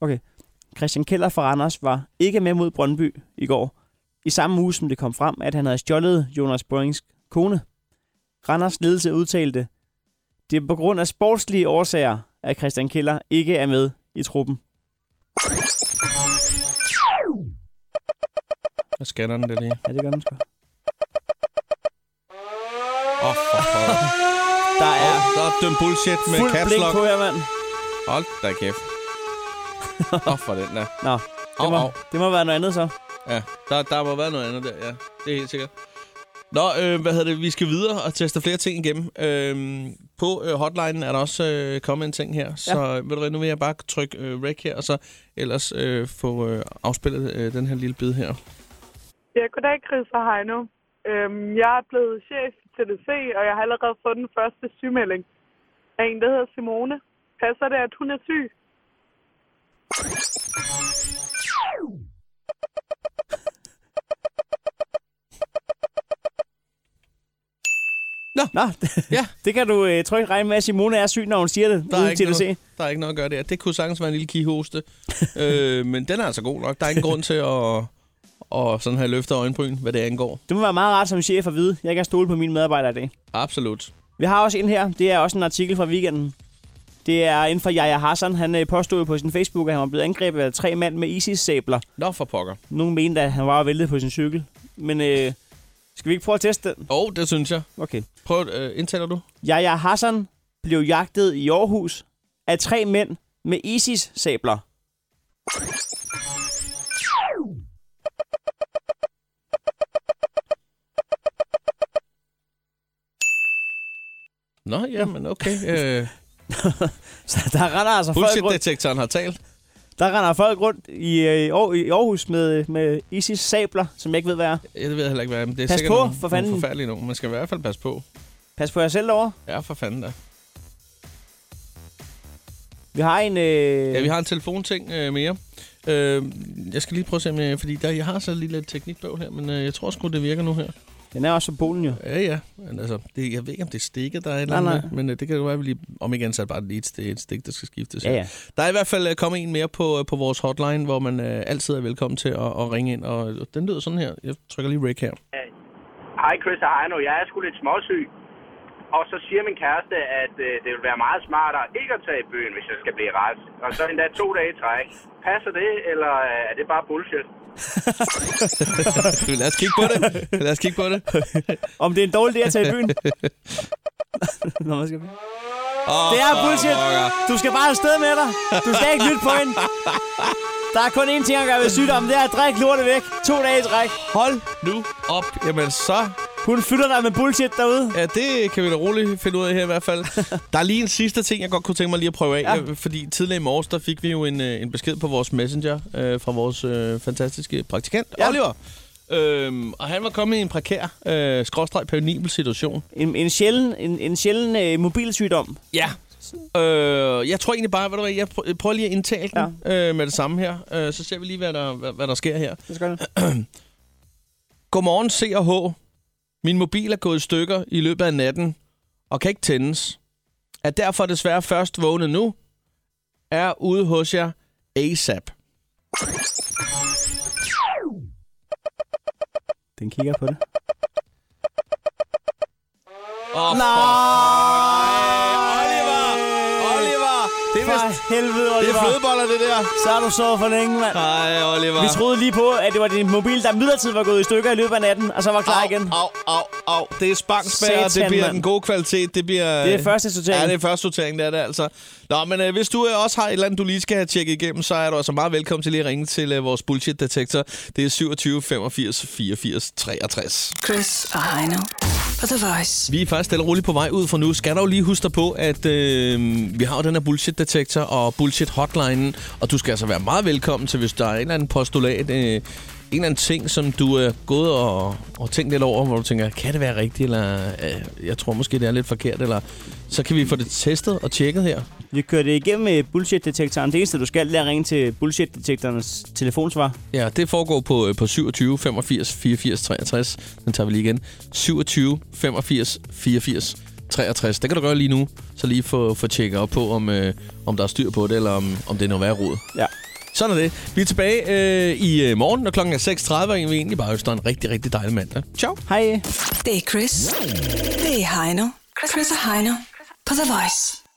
[SPEAKER 4] Okay. Christian Keller fra Randers var ikke med mod Brøndby i går. I samme uge, som det kom frem, at han havde stjålet Jonas Borings kone. Randers ledelse udtalte, det er på grund af sportslige årsager, at Christian Keller ikke er med i truppen.
[SPEAKER 3] Jeg scanner den der lige.
[SPEAKER 4] Ja, det gør den sgu.
[SPEAKER 3] Åh, oh, for pokker.
[SPEAKER 4] Der er
[SPEAKER 3] Der er dømt bullshit med
[SPEAKER 4] fuld
[SPEAKER 3] caps
[SPEAKER 4] blik
[SPEAKER 3] lock.
[SPEAKER 4] på jer, mand.
[SPEAKER 3] Hold da kæft. Åh, oh, for den der.
[SPEAKER 4] Nå, det
[SPEAKER 3] Au,
[SPEAKER 4] må,
[SPEAKER 3] au.
[SPEAKER 4] det må være noget andet så.
[SPEAKER 3] Ja, der, der må være noget andet der, ja. Det er helt sikkert. Nå, øh, hvad hedder det? Vi skal videre og teste flere ting igennem. Øh, på øh, hotlinen er der også øh, kommet en ting her. Ja. Så øh, ved du hvad, nu vil jeg bare trykke øh, rec her, og så ellers øh, få øh, afspillet øh, den her lille bid her.
[SPEAKER 11] Ja, goddag Chris og Heino. Øhm, jeg er blevet chef i TDC, og jeg har allerede fået den første sygemelding af en, der hedder Simone. Passer det, at hun er syg?
[SPEAKER 3] Nå.
[SPEAKER 4] Nå.
[SPEAKER 3] ja.
[SPEAKER 4] Det kan du øh, trykke regne med, at Simone er syg, når hun siger det.
[SPEAKER 3] Der er,
[SPEAKER 4] uden
[SPEAKER 3] ikke
[SPEAKER 4] TDC.
[SPEAKER 3] noget, der er ikke noget at gøre der. Det kunne sagtens være en lille kihoste. øh, men den er altså god nok. Der er ingen grund til at, at sådan have løftet øjenbryn, hvad det angår.
[SPEAKER 4] Det må være meget rart som chef at vide. Jeg kan stole på mine medarbejdere i dag.
[SPEAKER 3] Absolut.
[SPEAKER 4] Vi har også en her. Det er også en artikel fra weekenden. Det er inden for Yahya Hassan. Han øh, påstod jo på sin Facebook, at han var blevet angrebet af tre mænd med ISIS-sabler.
[SPEAKER 3] Nå, for pokker.
[SPEAKER 4] Nogle mente, at han var væltet på sin cykel. Men øh, skal vi ikke prøve at teste den?
[SPEAKER 3] Jo, oh, det synes jeg.
[SPEAKER 4] Okay.
[SPEAKER 3] Prøv, øh, indtaler du?
[SPEAKER 4] Yahya Hassan blev jagtet i Aarhus af tre mænd med ISIS-sabler.
[SPEAKER 3] Nå, jamen okay. Øh,
[SPEAKER 4] Så der render altså folk rundt,
[SPEAKER 3] Bullshit-detektoren har talt.
[SPEAKER 4] der render folk rundt i, øh, i Aar- i Aarhus med, med ISIS-sabler, som jeg ikke ved, hvad er.
[SPEAKER 3] Jeg ved heller ikke, hvad det er. men Det er
[SPEAKER 4] Pas
[SPEAKER 3] sikkert
[SPEAKER 4] på,
[SPEAKER 3] nogle,
[SPEAKER 4] for fanden.
[SPEAKER 3] Nogle forfærdelige nogen. Man skal i hvert fald passe på.
[SPEAKER 4] Pas på jer selv derovre.
[SPEAKER 3] Ja, for fanden da.
[SPEAKER 4] Vi har en... Øh,
[SPEAKER 3] Ja, vi har en telefonting øh, mere. Øh, jeg skal lige prøve at se, om jeg, fordi der, jeg har så lige lidt teknikbøvl her, men øh, jeg tror sgu, det virker nu her.
[SPEAKER 4] Den er også på Polen, jo.
[SPEAKER 3] Ja, ja. Men altså, det, jeg ved ikke, om det er stikket, der er et eller
[SPEAKER 4] Nej,
[SPEAKER 3] andet,
[SPEAKER 4] nej.
[SPEAKER 3] med, men øh, det kan jo være, at vi lige om igen satte bare lige et, stik, et stik, der skal skiftes.
[SPEAKER 4] Ja,
[SPEAKER 3] her.
[SPEAKER 4] ja.
[SPEAKER 3] Der er i hvert fald øh, kommet en mere på, øh, på vores hotline, hvor man øh, altid er velkommen til at, at ringe ind, og øh, den lyder sådan her. Jeg trykker lige rec her.
[SPEAKER 12] Hej Chris og Arno, jeg er sgu lidt småsyg. Og så siger min kæreste, at øh, det vil være meget smartere ikke at tage i byen, hvis jeg skal blive rask. Og så endda to dage i træk. Passer det, eller øh, er det bare bullshit?
[SPEAKER 3] Lad os kigge på det. Lad os kigge på det.
[SPEAKER 4] Om det er en dårlig idé at tage i byen? Nå, man skal... Oh, det er bullshit. Du skal bare afsted med dig. Du skal ikke lytte på hende. Der er kun én ting at gøre ved sygdom. Det er at drikke lortet væk. To dage i træk.
[SPEAKER 3] Hold nu op. Jamen så
[SPEAKER 4] Hun fylder dig med bullshit derude.
[SPEAKER 3] Ja, det kan vi da roligt finde ud af her i hvert fald. Der er lige en sidste ting, jeg godt kunne tænke mig lige at prøve af. Ja. Fordi tidligere i morges, der fik vi jo en, øh, en besked på vores messenger øh, fra vores øh, fantastiske praktikant, ja. Oliver. Øhm, og han var kommet i en prekær, øh, skråstreg penibel situation.
[SPEAKER 4] En, en sjælden, en, en sjælden øh, mobilsygdom.
[SPEAKER 3] Ja. Øh, jeg tror egentlig bare, ved du hvad, jeg prø- prøver lige at indtale den ja. øh, med det samme her. Øh, så ser vi lige, hvad der, hvad, hvad der sker her.
[SPEAKER 4] Det skal det.
[SPEAKER 3] Godmorgen, C og H. Min mobil er gået i stykker i løbet af natten og kan ikke tændes. Er derfor desværre først vågnet nu, er ude hos jer ASAP.
[SPEAKER 4] Den kigger på det.
[SPEAKER 3] Åh, oh, Oliver! Oliver! Det er, vist,
[SPEAKER 4] For helvede,
[SPEAKER 3] det er
[SPEAKER 4] Oliver.
[SPEAKER 3] flødeboller, det der.
[SPEAKER 4] Så har du sovet for længe, mand.
[SPEAKER 3] Nej, Oliver.
[SPEAKER 4] Vi troede lige på, at det var din mobil, der midlertidigt var gået i stykker i løbet af natten, og så var klar
[SPEAKER 3] Au,
[SPEAKER 4] igen.
[SPEAKER 3] Au, au, au. Det er spangsbær,
[SPEAKER 4] Satan,
[SPEAKER 3] det bliver
[SPEAKER 4] mand.
[SPEAKER 3] den gode kvalitet. Det, bliver,
[SPEAKER 4] Det er første sortering.
[SPEAKER 3] Ja, det er første sortering, det er det altså. Nå, men øh, hvis du øh, også har et eller andet, du lige skal have tjekket igennem, så er du altså meget velkommen til lige at ringe til øh, vores bullshit-detektor. Det er 27 85 84 63.
[SPEAKER 2] Chris og Heino på The Voice.
[SPEAKER 3] Vi er faktisk stille og roligt på vej ud fra nu. Skal du lige huske dig på, at øh, vi har jo den her bullshit-detektor og bullshit-hotlinen, og du skal altså være meget velkommen til, hvis der er en eller anden postulat, øh, en eller anden ting, som du øh, er gået og, og tænkt lidt over, hvor du tænker, kan det være rigtigt, eller øh, jeg tror måske, det er lidt forkert, eller så kan vi få det testet og tjekket her.
[SPEAKER 4] Vi kører det igennem med bullshit-detektoren. Det eneste, du skal, det er at ringe til bullshit-detektorens telefonsvar.
[SPEAKER 3] Ja, det foregår på, øh, på 27 85 84 63. Den tager vi lige igen. 27 85 84 63. Det kan du gøre lige nu, så lige få, få tjekket op på, om, øh, om der er styr på det, eller om, om det er noget værd rod.
[SPEAKER 4] Ja.
[SPEAKER 3] Sådan er det. Vi er tilbage øh, i øh, morgen, når klokken er 6.30, og vi egentlig bare ønsker en rigtig, rigtig dejlig mandag. Ciao!
[SPEAKER 4] Hej.
[SPEAKER 2] Det er Chris. Det er Heino. Chris og Heino på The Voice.